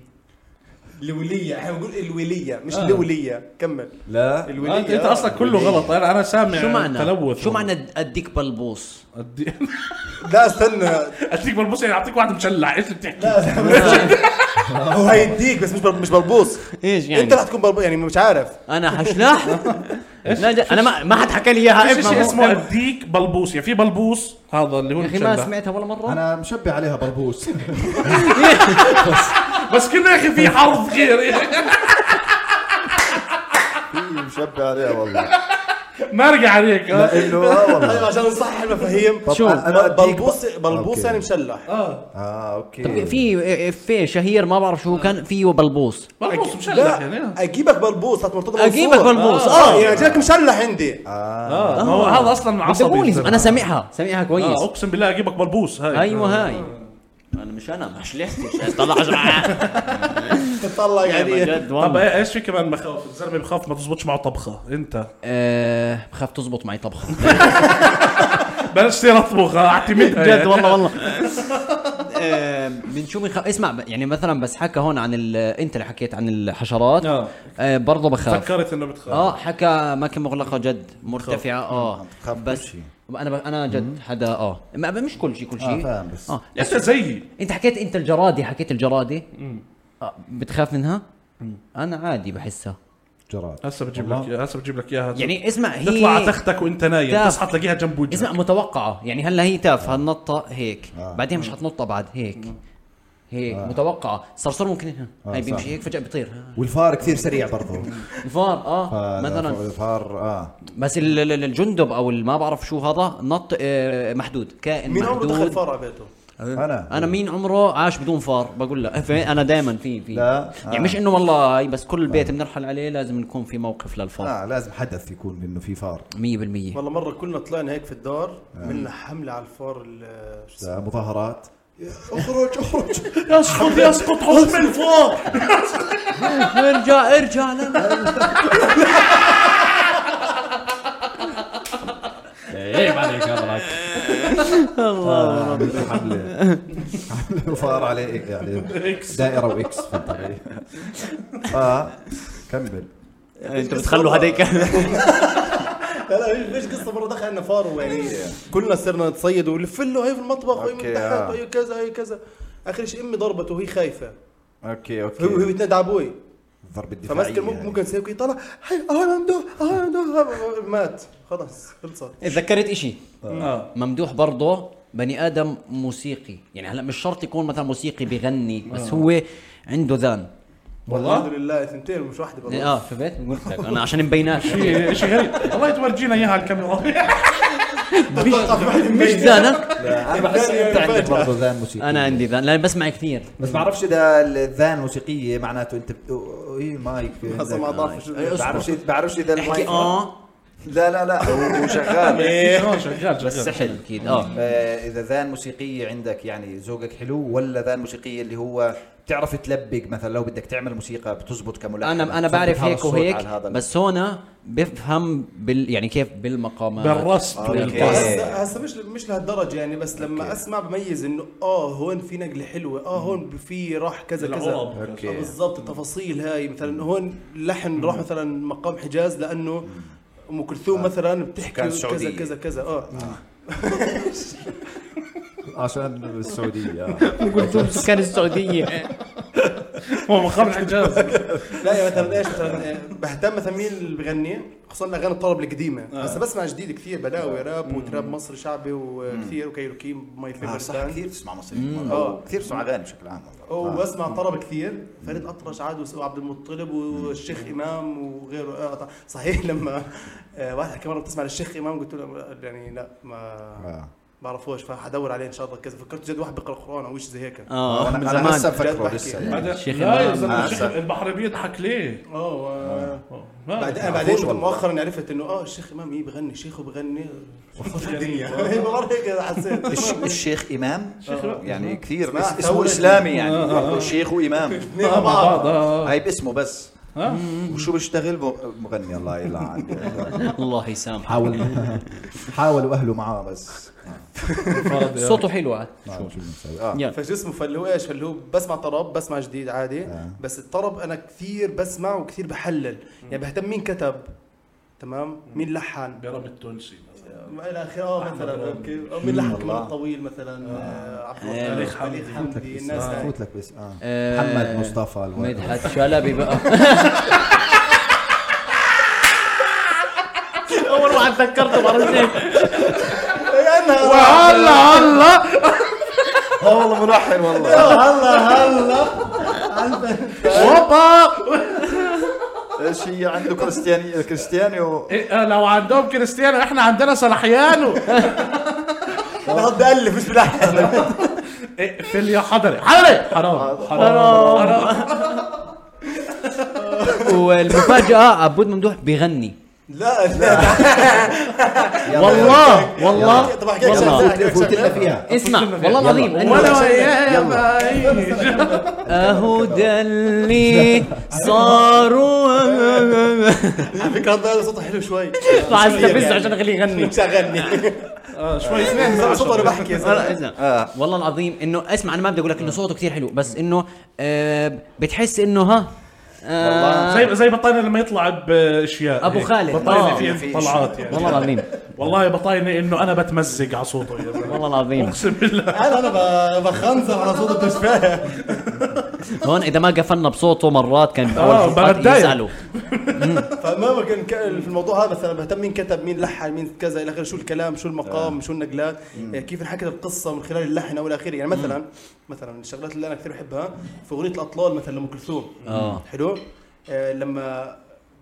الوليه احنا بنقول الوليه مش الوليه كمل
آه،
لا
الوليه
انت انت اصلك كله غلط انا انا سامع
شو معنى
تلوث
شو معنى أد- اديك بلبوص
أدي-
لا استنى
اديك بلبوس يعني اعطيك واحد مشلع ايش بتحكي
هو هيديك بس مش بل- مش بلبوص
ايش يعني
انت رح تكون بلبوص يعني مش عارف
انا حشلاح لا، لا، انا ما ما حد حكى لي اياها
في
إما
شيء
هو-
اسمه اديك بلبوس يعني في بلبوس هذا اللي هو
يا اخي ما
المشلع.
سمعتها ولا مره
انا مشبه عليها بلبوس
بس كنا يا اخي في حرف غير
في مشبع عليها والله
ما ارجع عليك آه.
لانه اه والله
ايوه عشان نصحح المفاهيم
طب أنا أديك
بلبوص
ب-
بلبوص
أوكي.
يعني مشلح
اه اوكي
طيب.
طب في إيه، في شهير ما بعرف شو كان فيه بلبوص
بلبوس مشلع يعني
لا اجيبك بلبوص هات مرتضى
اجيبك
منصور.
بلبوص
اه
اه
يعني جاك مشلح عندي
آه.
اه ما هو هذا اصلا
عصبوني
عصبي
انا سامعها سامعها كويس
اه اقسم بالله اجيبك بلبوس أيوة، هاي
ايوه هاي انا مش انا ما شلحتش طلع
تطلع يعني
جد
طب
والله
إيه- ايش في كمان مخاوف الزلمه بخاف ما تزبطش معه طبخه انت
آه، بخاف تزبط معي طبخ
بلاش تصير اطبخ آه، اعتمدها
جد
يعني.
والله والله آه، من شو بنخاف اسمع ب- يعني مثلا بس حكى هون عن ال- انت اللي حكيت عن الحشرات
آه.
آه، برضه بخاف
فكرت انه بتخاف
اه حكى اماكن مغلقه جد مرتفعه اه
بخاف كل
بس
شيء.
انا ب... انا جد حدا اه ما مش كل شيء كل شيء
آه، فاهم بس.
اه
انت زيي
انت حكيت انت الجرادي حكيت الجرادي آه بتخاف منها انا عادي بحسها
جراد
هسه بجيب لك هسه بجيب لك اياها
يعني اسمع هي
تطلع على تختك وانت نايم
تاف.
تصحى تلاقيها جنب وجهك
اسمع متوقعه يعني هلا هي تافهه نطة هيك
آه.
بعدين مش حتنطة بعد هيك هيك متوقعه صرصور ممكن هنا
آه،
هاي
صح.
بيمشي هيك فجاه بيطير ها.
والفار كثير سريع آه، برضه
الفار اه
فال-
مثلا
الفار اه
بس ال- ال- ال- الجندب او ال- ما بعرف شو هذا نط آه، محدود كائن
مين عمره
محدود
دخل فرع بيته
انا
انا مين عمره عاش بدون فار بقول لك في- انا دائما في في
لا.
يعني
آه.
مش انه والله هاي بس كل البيت بنرحل عليه لازم نكون في موقف للفار
اه لازم حدث يكون انه في فار
100%
والله مره كلنا طلعنا هيك في الدار عملنا حمله على الفار ال- شو اسمه
آه، مظاهرات اخرج اخرج
يسقط يسقط حكم الفار
ارجع ارجع لنا
عيب عليك هذاك
الله
عملوا حمله عملوا فار عليه يعني دائره واكس فهمت علي؟ اه كمل
انتوا بتخلوا هذيك
لا لا ليش قصه مره دخلنا فار ويعني كلنا صرنا نتصيد ونلف له هي في المطبخ وهي من
أوكي،
تحت
آه.
وهي كذا هي كذا اخر شيء امي ضربته وهي خايفه
اوكي اوكي
وهي وهي بتنادى على ابوي
الضرب الدفاعي
فماسك الممكن ممكن سيبك يطلع هي اهو ممدوح اهو ممدوح مات خلاص خلصت
تذكرت اشي
اه
ممدوح برضه بني ادم موسيقي يعني هلا مش شرط يكون مثلا موسيقي بغني بس هو عنده ذان
الحمد لله اثنتين مش واحده بالله
اه شفت قلت لك انا عشان مبينات
شيء شيء غريب والله تورجينا اياها على الكاميرا
مش مش ذانك
لا، انا بحس انت عندك برضه ذان موسيقي
انا عندي ذان لان بسمع كثير
بس بعرفش اذا الذان موسيقيه معناته انت بت... اي مايك
هذا ما ضاف شو-
بعرفش بعرفش اذا
احكي
المايك
اه
لا لا لا هو هو شغال
اه شغال
بس
شغال
سحل اكيد اه
آه، اذا ذان موسيقيه عندك يعني ذوقك حلو ولا ذان موسيقيه اللي هو بتعرف تلبق مثلا لو بدك تعمل موسيقى بتزبط كملحن
انا انا
بتزبط
بعرف
هذا
هيك
الصوت
وهيك
على هذا ال-
بس هون بفهم بال يعني كيف بالمقامات
بالرصد
إيه.
بالرصد.
هسه هسه مش مش لهالدرجه يعني بس لما اسمع بميز انه اه هون في نقله حلوه اه هون في راح كذا كذا
العرب.
آه،
أوكي.
بالضبط التفاصيل هاي مثلا هون لحن راح مثلا مقام حجاز لانه ام
آه.
كلثوم مثلا بتحكي
كان
كذا
سعودية.
كذا كذا اه
عشان السعوديه
قلت سكان السعوديه
هو مقام الحجاز
لا يعني مثلا ايش مثلا آه، بهتم مثلا مين اللي بغني خصوصا الاغاني الطرب القديمه
آه.
هسه بسمع جديد كثير بلاوي راب وتراب مصري شعبي وكثير وكايروكي ماي
آه، صح
فيفرت
كثير تسمع موسيقى
آه.
كثير تسمع اغاني بشكل عام
وبسمع طرب كثير فريد اطرش عاد وعبد المطلب والشيخ امام وغيره آه طبعاً. صحيح لما آه، واحد حكى مره بتسمع للشيخ امام قلت له يعني لا ما
آه.
بعرفوش فحدور عليه ان شاء الله كذا فكرت جد واحد بيقرا قران او شيء زي هيك
اه
انا
من
انا هسه
زمان
مفكره
بحكي.
لسه يعني.
بعدين-
شيخ
لا يا
إمام.
زلمه
آه،
الشيخ-
صح.
البحر بيضحك ليه؟ آه.
اه و-
ما-
بعدين
ما
بعدين
بعرفوش والله.
مؤخرا عرفت انه اه الشيخ امام ايه بغني شيخه بغني يعني الدنيا مرة هيك حسيت
الش- الشيخ امام
إمام.
يعني كثير
اسمع،
اسمه
أول-
اسلامي يعني شيخ وامام
اثنين مع
مع
بعض
بعض آه.
هاي باسمه بس
ها؟
وشو بيشتغل م- مغني الله يلعن
الله يسامحك
حاول حاولوا اهله معاه بس
صوته حلو عاد
شو شو بنسوي اه
يلا
فشو اسمه فاللي هو ايش فاللي هو بسمع طرب بسمع جديد عادي
آه.
بس الطرب انا كثير بسمع وكثير بحلل يعني بهتم مين كتب تمام مين لحن
برم التونسي
ما الى اخره اه مثلا أوكي. مين لحن كمان طويل مثلا آه، عبد
آه.
الخالق حمدي حمدي الناس هاي
فوت لك بس اه
آه،
محمد مصطفى الوالد.
مدحت شلبي بقى اول واحد تذكرته مرتين
هلا هلا
اه والله ملحن والله
هوبا
ايش هي عنده كريستياني كريستيانو
إيه، لو عندهم كريستيانو احنا عندنا صلاحيانو
انا بدي الف مش بلحن
إيه، في يا حضري حضري حرام حرام حرام
والمفاجأة عبود ممدوح بيغني
لا لا
والله والله
طب احكي لك
والله.
شغلة، أحكي لك
فوت
شغلة.
لنا فيها
اسمع والله العظيم
ولا
أنا-
وياه يا بعيد
اهو ده اللي صاروا
على فكره هذا صوته حلو شوي
عايز استفزه عشان اخليه يغني
شغلني
شوي
صوته انا بحكي
لا، اسمع. والله العظيم انه اسمع انا ما بدي اقول لك انه صوته كثير حلو بس انه آه، بتحس انه ها آه،
زي زي بطاينه لما يطلع إيه، باشياء
أبو
هيك.
خالد. آه.
بطاينه في طلعات يعني
والله العظيم
والله بطاينه انه انا بتمزق على صوته يا زلمة.
والله العظيم
اقسم بالله
آه.
انا انا بخنزر على صوته مش فاهم
هون اذا ما قفلنا بصوته مرات كان
آه،
بحاول فقط
بتضايق.
يسالوا
فما كان ك- في الموضوع هذا مثلا بهتم مين كتب مين لحن مين كذا الى اخره شو الكلام شو المقام شو النقلات آه، كيف انحكت القصه من خلال اللحن او الى اخره يعني مثلا مثلا من الشغلات اللي انا كثير بحبها في اغنيه الاطلال مثلا لام كلثوم
آه.
حلو آه، لما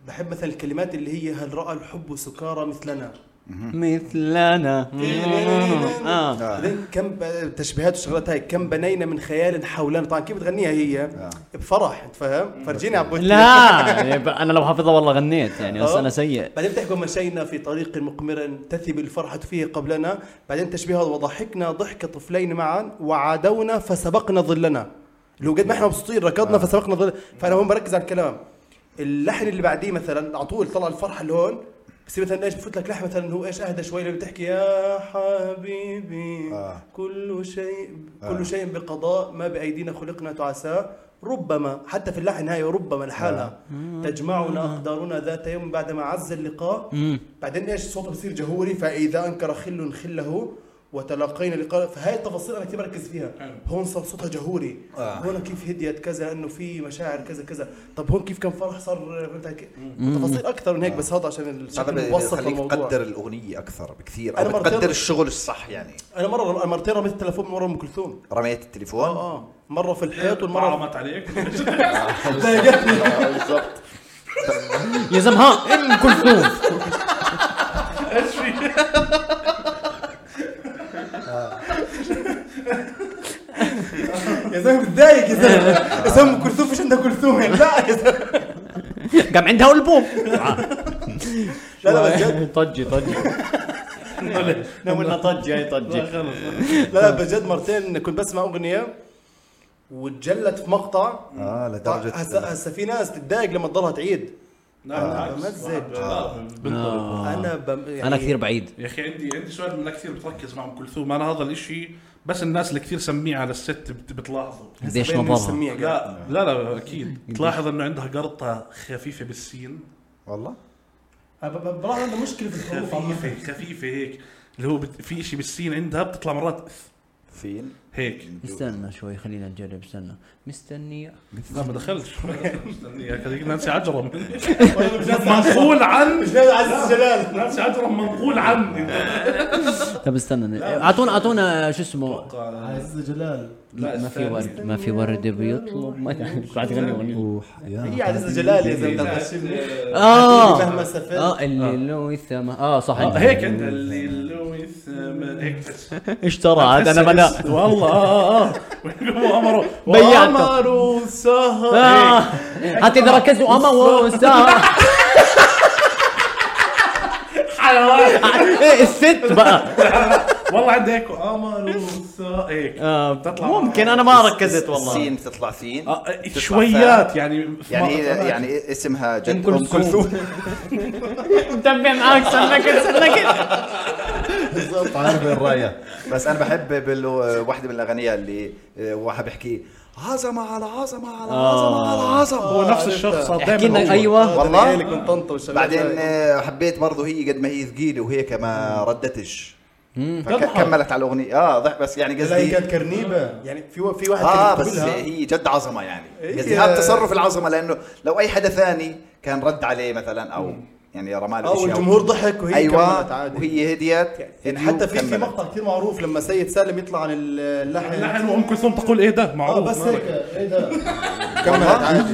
بحب مثلا الكلمات اللي هي هل راى الحب سكارى مثلنا
مثلنا آه.
بعدين كم ب- تشبيهات وشغلات هاي كم بنينا من خيال حولنا طبعا كيف بتغنيها هي
آه.
بفرح انت فاهم فرجيني عبود
لا يبقى انا لو حافظها والله غنيت يعني بس
آه.
انا سيء
بعدين بتحكوا مشينا في طريق مقمر تثب الفرحة فيه قبلنا بعدين تشبيه هذا وضحكنا ضحك طفلين معا وعادونا فسبقنا ظلنا لو قد ما احنا مبسوطين ركضنا فسبقنا ظل فانا هون بركز على الكلام اللحن اللي بعديه مثلا على طول طلع الفرحه اللي هون بصير مثلا ايش بفوت لك لحن مثلا هو ايش اهدى شوي اللي بتحكي يا حبيبي
آه.
كل شيء
آه.
كل شيء بقضاء ما بايدينا خلقنا تعسى ربما حتى في اللحن هاي ربما
آه.
لحالها تجمعنا اقدارنا ذات يوم بعدما عز اللقاء بعدين ايش صوته بصير جهوري فاذا انكر خل خله وتلاقينا لقاء فهاي التفاصيل انا كثير بركز فيها
آه.
هون صار صوتها جهوري هون كيف هديت كذا انه في مشاعر كذا كذا طب هون كيف كان فرح صار فهمت علي كيف؟ تفاصيل اكثر من هيك بس هذا عشان
آه. هذا
الشكل المبسط
بيخليك
للموضوع
تقدر الاغنيه اكثر بكثير
أنا
او
مرتين-
بتقدر الشغل الصح يعني
انا مره مرتين رميت التلفون من ورا ام كلثوم
رميت
اه
التليفون
اه مره في
آه.
الحيط والمره
حرامت عليك
بالضبط
يا زلمه ها ام كلثوم
ايش في
يا زلمه بتضايق يا زلمه يا زلمه ام كلثوم فيش عندها كلثوم يعني لا يا زلمه
قام عندها البوم
لا لا بجد
طجي طجي نولنا طجي هي طجي
لا لا بجد مرتين كنت بسمع اغنيه وتجلت في مقطع
اه لدرجه
هسا هسا في ناس تتضايق لما تضلها تعيد بمزج.
بنضرب.
آه.
انا بم... يعني
انا آه. كثير بعيد
يا اخي عندي عندي سؤال من كثير بتركز مع ام كلثوم انا هذا الاشي بس الناس اللي كثير سميعه على الست بت- بتلاحظه
قديش
بين
نظرها
نسميها قاعد.
لا لا لا اكيد تلاحظ انه عندها قرطه خفيفه بالسين
والله
أنا ب- ب- بلاحظ عندها مشكله في الحروف عامة.
خفيفه خفيفه هيك اللي هو بت- في شيء بالسين عندها بتطلع مرات
فين
هيك
استنى شوي خلينا نجرب استنى مستنية
لا ما دخلتش هذيك نانسي عجرم
طيب،
منقول عن
عز الجلال
نانسي عجرم منقول عن
طب استنى اعطونا اعطونا شو اسمه
عز جلال
لا،
لا ما في
استنى.
ورد ما في ورد بيطلب ما تعرف قاعد تغني اغنية
هي عز جلال يا زلمه
اه
مهما سافرت.
اه اللي لو الثمن اه صح
آه، هيك عندها اللي اللي هيك
اشترى عاد انا بلا
والله اه اه ويقوموا امروا
بيعته.
وامروا سهر
آه.
هيك. إيه.
حتى اذا ركزوا اما وسا
حيوان
إيه، الست بقى
والله عندي هيك امروا سهر هيك
آه
بتطلع
ممكن انا ما ركزت والله
سين بتطلع سين
آه، آه،
بتطلع فا.
شويات يعني في
يعني
إيه،
مرة-
يعني اسمها جد
أم كلثوم. متابع معاك صار ركز صار ركز
بالضبط عارف وين رايح
بس انا بحب بالو واحده من الاغنيه اللي آه، واحد بيحكي عظمه على عظمه على عظمه على عظمه
هو نفس الشخص صار
احكي
دائما
لنا
هو.
ايوه
والله؟
والله من طنطا والشباب
بعدين
هاي.
آه، حبيت برضه هي قد ما هي ثقيله وهيك ما ردتش
تضحك.
فكملت على الاغنيه اه ضحك بس يعني
لا هي
قصدي
كانت كرنيبه يعني في و- في واحد
اه
كان
بس
يقولها.
هي جد عظمه يعني
إيه، هي-
قصدي هذا تصرف العظمه لانه لو اي حدا ثاني كان رد عليه مثلا او يعني رمى له
اه
أشياء.
والجمهور ضحك وهي كملت
ايوه
عادي
وهي هديت
يعني
هديو
حتى في في
كملت.
مقطع كثير معروف لما سيد سالم يطلع عن اللحن
اللحن وام يعني كلثوم تقول ايه ده
اه
معروف
بس
مالك.
هيك ايه ده كملت عادي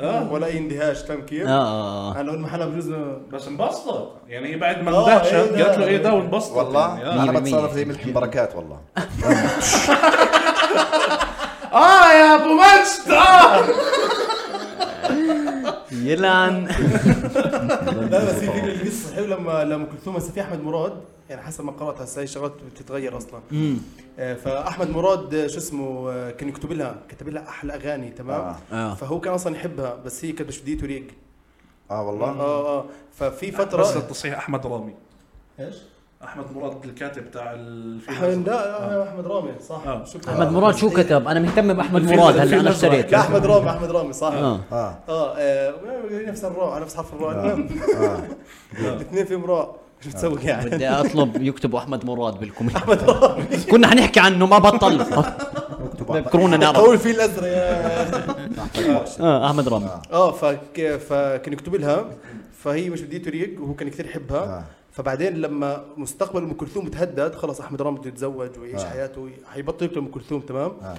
اه ولا اي اندهاش فاهم كيف؟
اه اه آه.
انا قلنا محلها بجوز ما-
بس انبسطت يعني هي بعد ما
آه،
اندهشت
إيه ده؟
قالت له ايه ده وانبسطت
والله
يعني.
انا
100%.
بتصرف زي ملحم بركات والله
اه يا ابو مجد اه
يلعن
لا بس هي فكره قصه حلوه لما لما كلثوم هسه في احمد مراد يعني حسب ما قرات هسه هي شغلات بتتغير اصلا آه، فاحمد مراد آه، شو اسمه آه، كان يكتب لها كتب لها احلى اغاني تمام
آه.
فهو كان اصلا يحبها بس هي كانت مش بديته ريق
اه والله
اه اه ففي
بس
فتره
التصحيح احمد رامي
ايش؟
احمد مراد الكاتب تاع الفيلم
احمد لا احمد رامي صح
آه.
شكرا
احمد مراد شو كتب انا مهتم باحمد
الفيل-
مراد هلا
الفيل
انا
الأزرق.
اشتريت
لا احمد رامي احمد رامي صح
اه
اه
اه آه، نفس الراء نفس حرف الراء المهم
اه
الاثنين فيهم راء
آه.
شو بتسوي يعني
بدي اطلب يكتبوا احمد مراد بالكومنت كنا حنحكي عنه ما بطل ذكرونا نعرف
قول الفيل الازرق يا
اه احمد رامي
اه فك... فكان يكتب لها فهي مش بديته ريق وهو كان كثير يحبها
آه.
فبعدين لما مستقبل ام كلثوم تهدد خلص احمد رامي بده يتزوج ويعيش
آه.
حياته حيبطل يكتب ام كلثوم تمام
آه.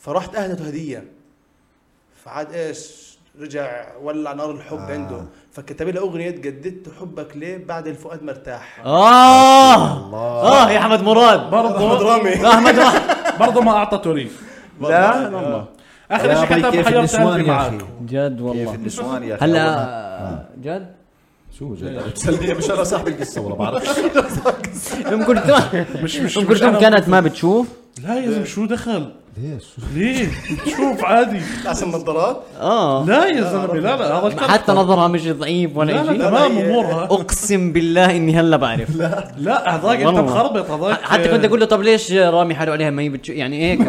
فراحت اهدته هديه فعاد ايش رجع ولع نار الحب
آه.
عنده فكتب لها اغنيه جددت حبك ليه بعد الفؤاد مرتاح
اه
الله
اه يا احمد مراد
احمد
برضه
رامي
احمد رامي
برضه ما اعطته ريف
لا
اخر شيء
يا
كتب
كيف
حيرت
النسوان
قلبي
يا
معاك
اخي
جد
كيف
والله
النسوان يا اخي والله.
هلا جد
شو جد بتسلني مش انا صاحب القصه ولا بعرف
ام كلثوم
مش مش
ام
مش
كلثوم
أنا.
كانت ما بتشوف
لا يا زلمه شو دخل
ليش
ليه شوف عادي
عشان النظارات
اه
لا يا زلمه لا لا هذا الكلام
حتى نظرها مش ضعيف
لا
ولا
لا
شيء
تمام امورها
اقسم بالله اني هلا بعرف
لا هذاك انت
والله.
مخربط هذاك
حتى كنت اقول له طب ليش رامي حاله عليها ما هي بتشو يعني هيك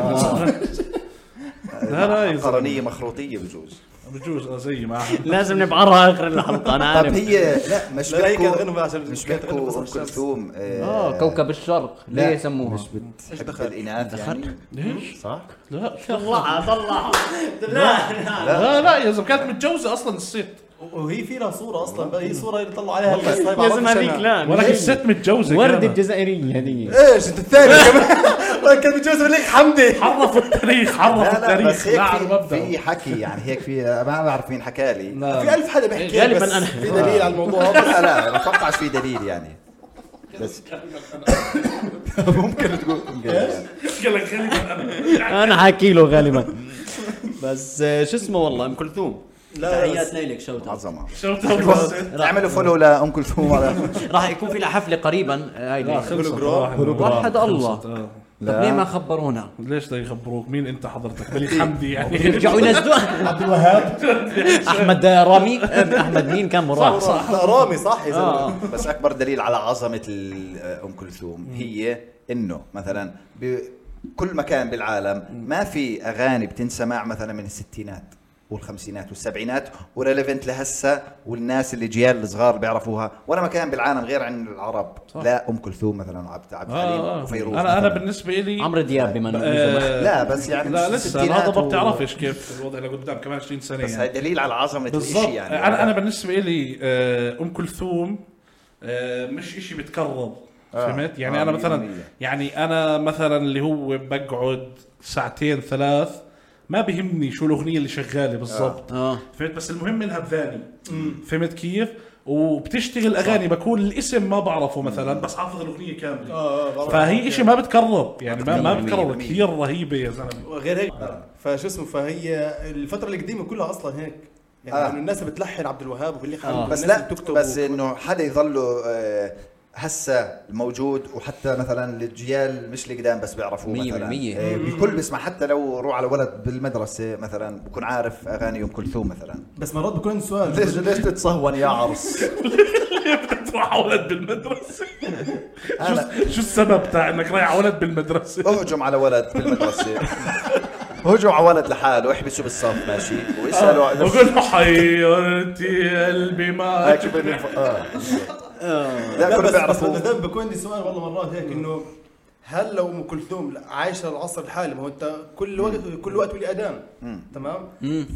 لا لا يا زلمه
قرنيه مخروطيه بجوز
بجوز آه، زي ما أحد.
لازم نبعرها اخر الحلقه انا
طب
عارف
هي لا مش
لا، لا، هي كانت
بيحكوا
غنوة عشان-
مش
كانت غنوة
بيحكوا
عشان
ام
الشمس.
كلثوم آه،
اه كوكب الشرق ليه يسموها
مش بت
حب الاناث يعني
ليش؟
صح؟
لا
طلعها طلعها لا
لا لا يا زلمه كانت متجوزه اصلا الست
وهي في لها صوره اصلا بقى هي صوره اللي طلعوا عليها طيب،
لازم هذيك لا
ولكن الست متجوزه
وردة
وردت
الجزائرية هذيك
ايش انت الثاني كمان كان متجوز مليك حمدي
حرفوا التاريخ حرفوا
لا لا
التاريخ
بس
لا
هيك
على
في,
المبدا
في حكي يعني هيك في ما بعرف مين حكى لي لا
في ألف حدا بيحكي
غالباً
بس
أنا.
في دليل على الموضوع بس
لا ما بتوقعش في دليل يعني بس ممكن تقول ممكن.
قال لك خلينا أنا.
انا حاكي له غالبا بس آه، شو اسمه والله ام كلثوم تحياتنا لك شوت أوت.
عظمه
شو تقول؟
اعملوا فولو لام كلثوم على
راح يكون في لها حفله قريبا آه، هاي
لا
ليلى.
خلصت راح.
وحد الله
خلصت، آه.
طب ليه ما خبرونا
ليش لا يخبروك مين انت حضرتك مليك حمدي يعني
يرجعوا ينزلوها عبد الوهاب احمد رامي آه، احمد مين كان مراد صح
لا رامي صح يا
آه.
زلمه
اه
بس اكبر دليل على عظمه ال- ام كلثوم هي انه مثلا بكل مكان بالعالم ما في اغاني بتنسمع مثلا من الستينات والخمسينات والسبعينات وريليفنت لهسه والناس اللي جيال الصغار اللي بيعرفوها ولا مكان بالعالم غير عن العرب لا ام كلثوم مثلا عبد عبد الحليم
آه، آه.
وفيروز
انا انا
مثلاً.
بالنسبه لي آه،
عمرو دياب بما إنه إجا
لا بس يعني
لا
مش
لسه
الستينات
هذا ما
و-
بتعرفش كيف الوضع اللي قدام كمان 20 سنه
بس
يعني
هاي دليل على عظمه
بالضبط
الشيء يعني
انا انا بالنسبه لي آه، ام كلثوم آه، مش إشي بتكرر فهمت يعني
آه،
انا
مية
مثلا
بالمية.
يعني انا مثلا اللي هو بقعد ساعتين ثلاث ما بهمني شو الاغنيه اللي شغاله
آه.
بالضبط
اه
فهمت بس المهم انها بذاني فهمت كيف وبتشتغل اغاني بكون الاسم ما بعرفه مثلا بس حافظ الاغنيه
آه.
كامله
اه
فهي إشي ما بتكرر يعني ما ما
بتكرر، مية
بتكرر
بالمية.
كثير رهيبه يا زلمه
غير هيك فشو اسمه فهي الفتره القديمه كلها اصلا هيك يعني
آه.
إنه الناس بتلحن عبد الوهاب وباللي
آه.
خلق
بس لا بس انه حدا يظله آه، هسه الموجود وحتى مثلا الجيال مش اللي قدام بس بيعرفوه
مية
مثلا
بالمية.
آه، الكل بيسمع حتى لو روح على ولد بالمدرسه مثلا بكون عارف اغاني ام كلثوم مثلا
بس مرات بكون سؤال
ليش ليش تتصهون يا عرس
بدك تروح على ولد بالمدرسه
أنا-
شو- شو السبب تاع انك رايح على ولد بالمدرسه
اهجم على ولد بالمدرسه هجم على ولد لحاله احبسه بالصف ماشي واساله عن-
بقول له حيرتي قلبي معك
هيك بين الف-
آه.
اه لا
لا
كل
بس بس
بيعرفوا
بالذات بكون عندي سؤال والله مرات هيك انه هل لو ام كلثوم عايشه العصر الحالي ما هو انت كل وقت كل وقت ولي اذان تمام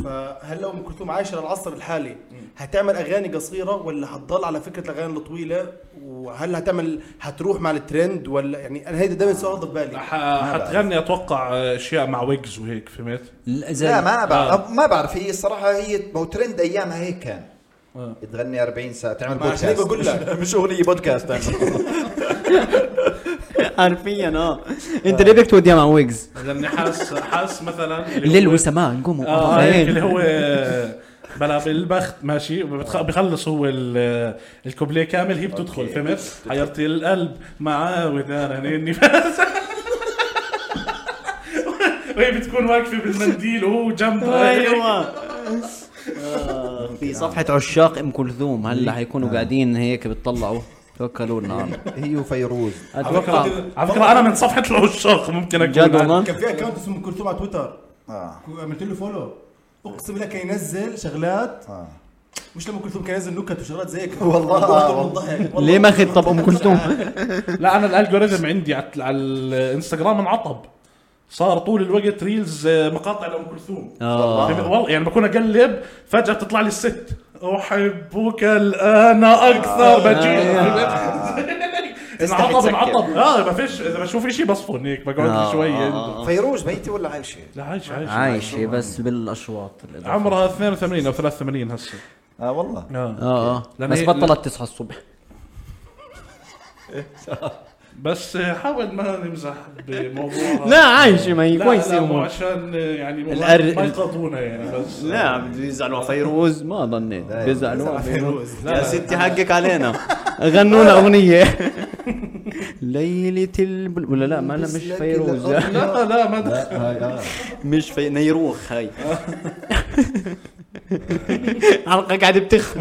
فهل لو ام كلثوم عايشه العصر الحالي هتعمل اغاني قصيره ولا هتضل على فكره الاغاني الطويله وهل هتعمل هتروح مع الترند ولا يعني انا هيدا دايما سؤال في بالي
ح- حتغني اتوقع اشياء مع ويجز وهيك فهمت؟
لا
زي آه.
ما بعرف ما بعرف هي الصراحه هي ما هو ترند ايامها هيك كان
آه.
تغني 40 ساعه تعمل
ما عشان هيك
بودكاست
بقول لك
مش اغنيه بودكاست
حرفيا اه انت ليه بتود يا مع ويجز
لاني حاسس حاسس مثلا اللي
ليل
هو-
وسماء قوموا
اه
آه،
هيك
إيه.
اللي هو آه، بلا بالبخت ماشي وبتخ- بخلص هو ال- آه، الكوبليه كامل هي بتدخل فهمت؟ حيرتي القلب مع ودانا النفاس وهي بتكون واقفه بالمنديل وهو جنبها هيك.
أيوة. آه، في صفحة عشاق ام كلثوم هلا حيكونوا قاعدين هيك بتطلعوا توكلوا لنا على الله.
هي وفيروز
اتوقع
على فكره انا من صفحه العشاق ممكن اكون
جد والله
كان في اكونت اسمه ام كلثوم على تويتر
اه
عملت له فولو اقسم لك ينزل شغلات
اه
مش لما كلثوم كان ينزل نكت وشغلات زي هيك
والله.
أكتر من ضحك. والله
ليه ما اخذ طب ام كلثوم
لا انا الالجوريثم عندي على على الانستغرام انعطب صار طول الوقت ريلز آه، مقاطع لام كلثوم
آه.
فب- والله يعني بكون اقلب فجاه بتطلع لي الست احبك الان
آه.
اكثر بجيء انعطب انعطب اه ما فيش اذا بشوف شيء بصفن هيك بقعد لي
آه،
شوي
آه،
عنده.
فيروز ميتة ولا عايشة؟
لا عايش عايش
عايشة بس بالاشواط الإضافية.
عمرها 82 او 83 هسه
اه والله
آه.
اه اه
لأن
بس
هي-
بطلت تصحى الصبح
بس آه، حاول ما نمزح بموضوع
لا عايشة ما هي
لا لا
كويسة
مو
أمور.
عشان آه، يعني ما-
الأر-
ما يقاطونا يعني بس
لا بيزعلوا على فيروز ما ظنيت بيزعلوا على فيروز يا ستي حقك علينا غنوا لنا اغنيه ليلة البل ولا لا ما لا مش فيروز
لا لا ما دخل
مش في نيروخ هاي حلقه قاعده بتخ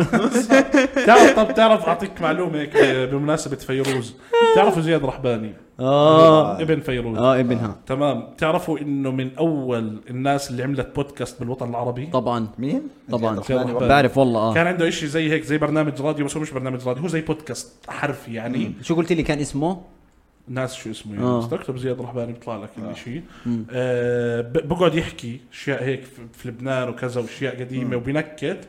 تعرف طب تعرف اعطيك معلومه هيك بمناسبه فيروز تعرفوا زياد رحباني
اه
ابن فيروز
اه ابنها
تمام تعرفوا انه من اول الناس اللي عملت بودكاست بالوطن العربي
طبعا
مين؟
طبعا
زياد رحمن.
بعرف والله اه
كان عنده إشي زي هيك زي برنامج راديو بس هو مش برنامج راديو هو زي بودكاست حرفي يعني
شو قلت لي كان اسمه؟
ناس شو اسمه
آه.
يعني بس تكتب زياد رحباني بيطلع لك الشيء آه ب- بقعد يحكي اشياء هيك في في لبنان وكذا واشياء قديمه وبنكت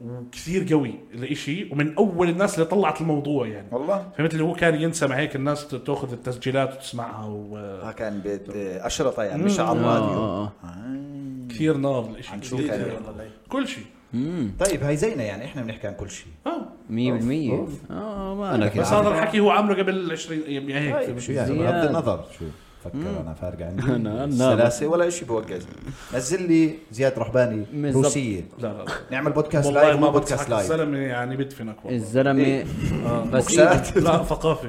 وكثير قوي الاشي ومن اول الناس اللي طلعت الموضوع يعني
والله
فهمت اللي هو كان ينسمع هيك الناس تاخذ التسجيلات وتسمعها وكثير
اه كان بيت آه، أشرطة يعني مش على الراديو
اه اه
نار الاشي
شو
كتير
كان؟
نار. كل شيء
يعني
طيب هاي زينا يعني احنا بنحكي عن كل شيء
اه
100% اه ما انا
بس هذا الحكي هو عامله قبل 20 يعني هيك
شو يعني
زياد.
بغض النظر شو فكر انا فارقه عندي
أنا-
سلاسة ولا شيء بوقف نزل لي زياد رحباني
بالضبط.
روسية
لا لا
نعمل بودكاست
والله
لايف
ما
مو بودكاست
بودكاست
لايف
الزلمه يعني بدفنك والله
الزلمه إيه. آه. بس إيه،
بوكسات.
لا ثقافه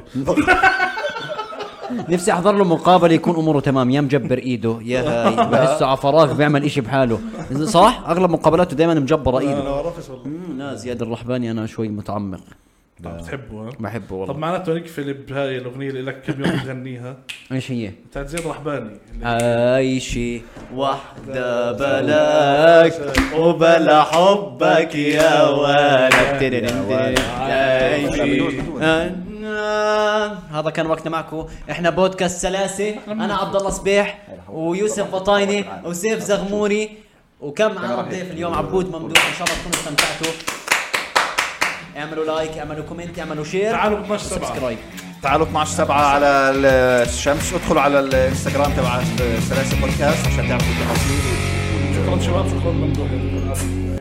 نفسي احضر له مقابله يكون اموره تمام يا مجبر ايده يا هاي بحسه على فراغ بيعمل إشي بحاله صح اغلب مقابلاته دائما مجبره ايده
ما بعرفش والله
مم، لا زياد الرحباني انا شوي متعمق
بتحبه ها
بحبه
طب
والله
معناته نقفل بهاي الاغنيه اللي لك كم يوم تغنيها
ايش هي؟
بتاعت زيد رحباني اللي-
عايشي وحدة بلاك وبلا حبك يا ولد عايشي هذا كان وقتنا معكم احنا بودكاست سلاسة انا عبد الله صبيح ويوسف بطايني وسيف زغموري وكم معنا ضيف اليوم عبود ممدوح ان شاء الله تكونوا استمتعتوا اعملوا لايك اعملوا كومنت اعملوا شير
تعالوا ب 12 7
سبسكرايب
تعالوا 12 7 على الشمس ادخلوا على الانستغرام تبع سلاسة بودكاست عشان تعرفوا التفاصيل
شكرا شباب شكرا ممدوح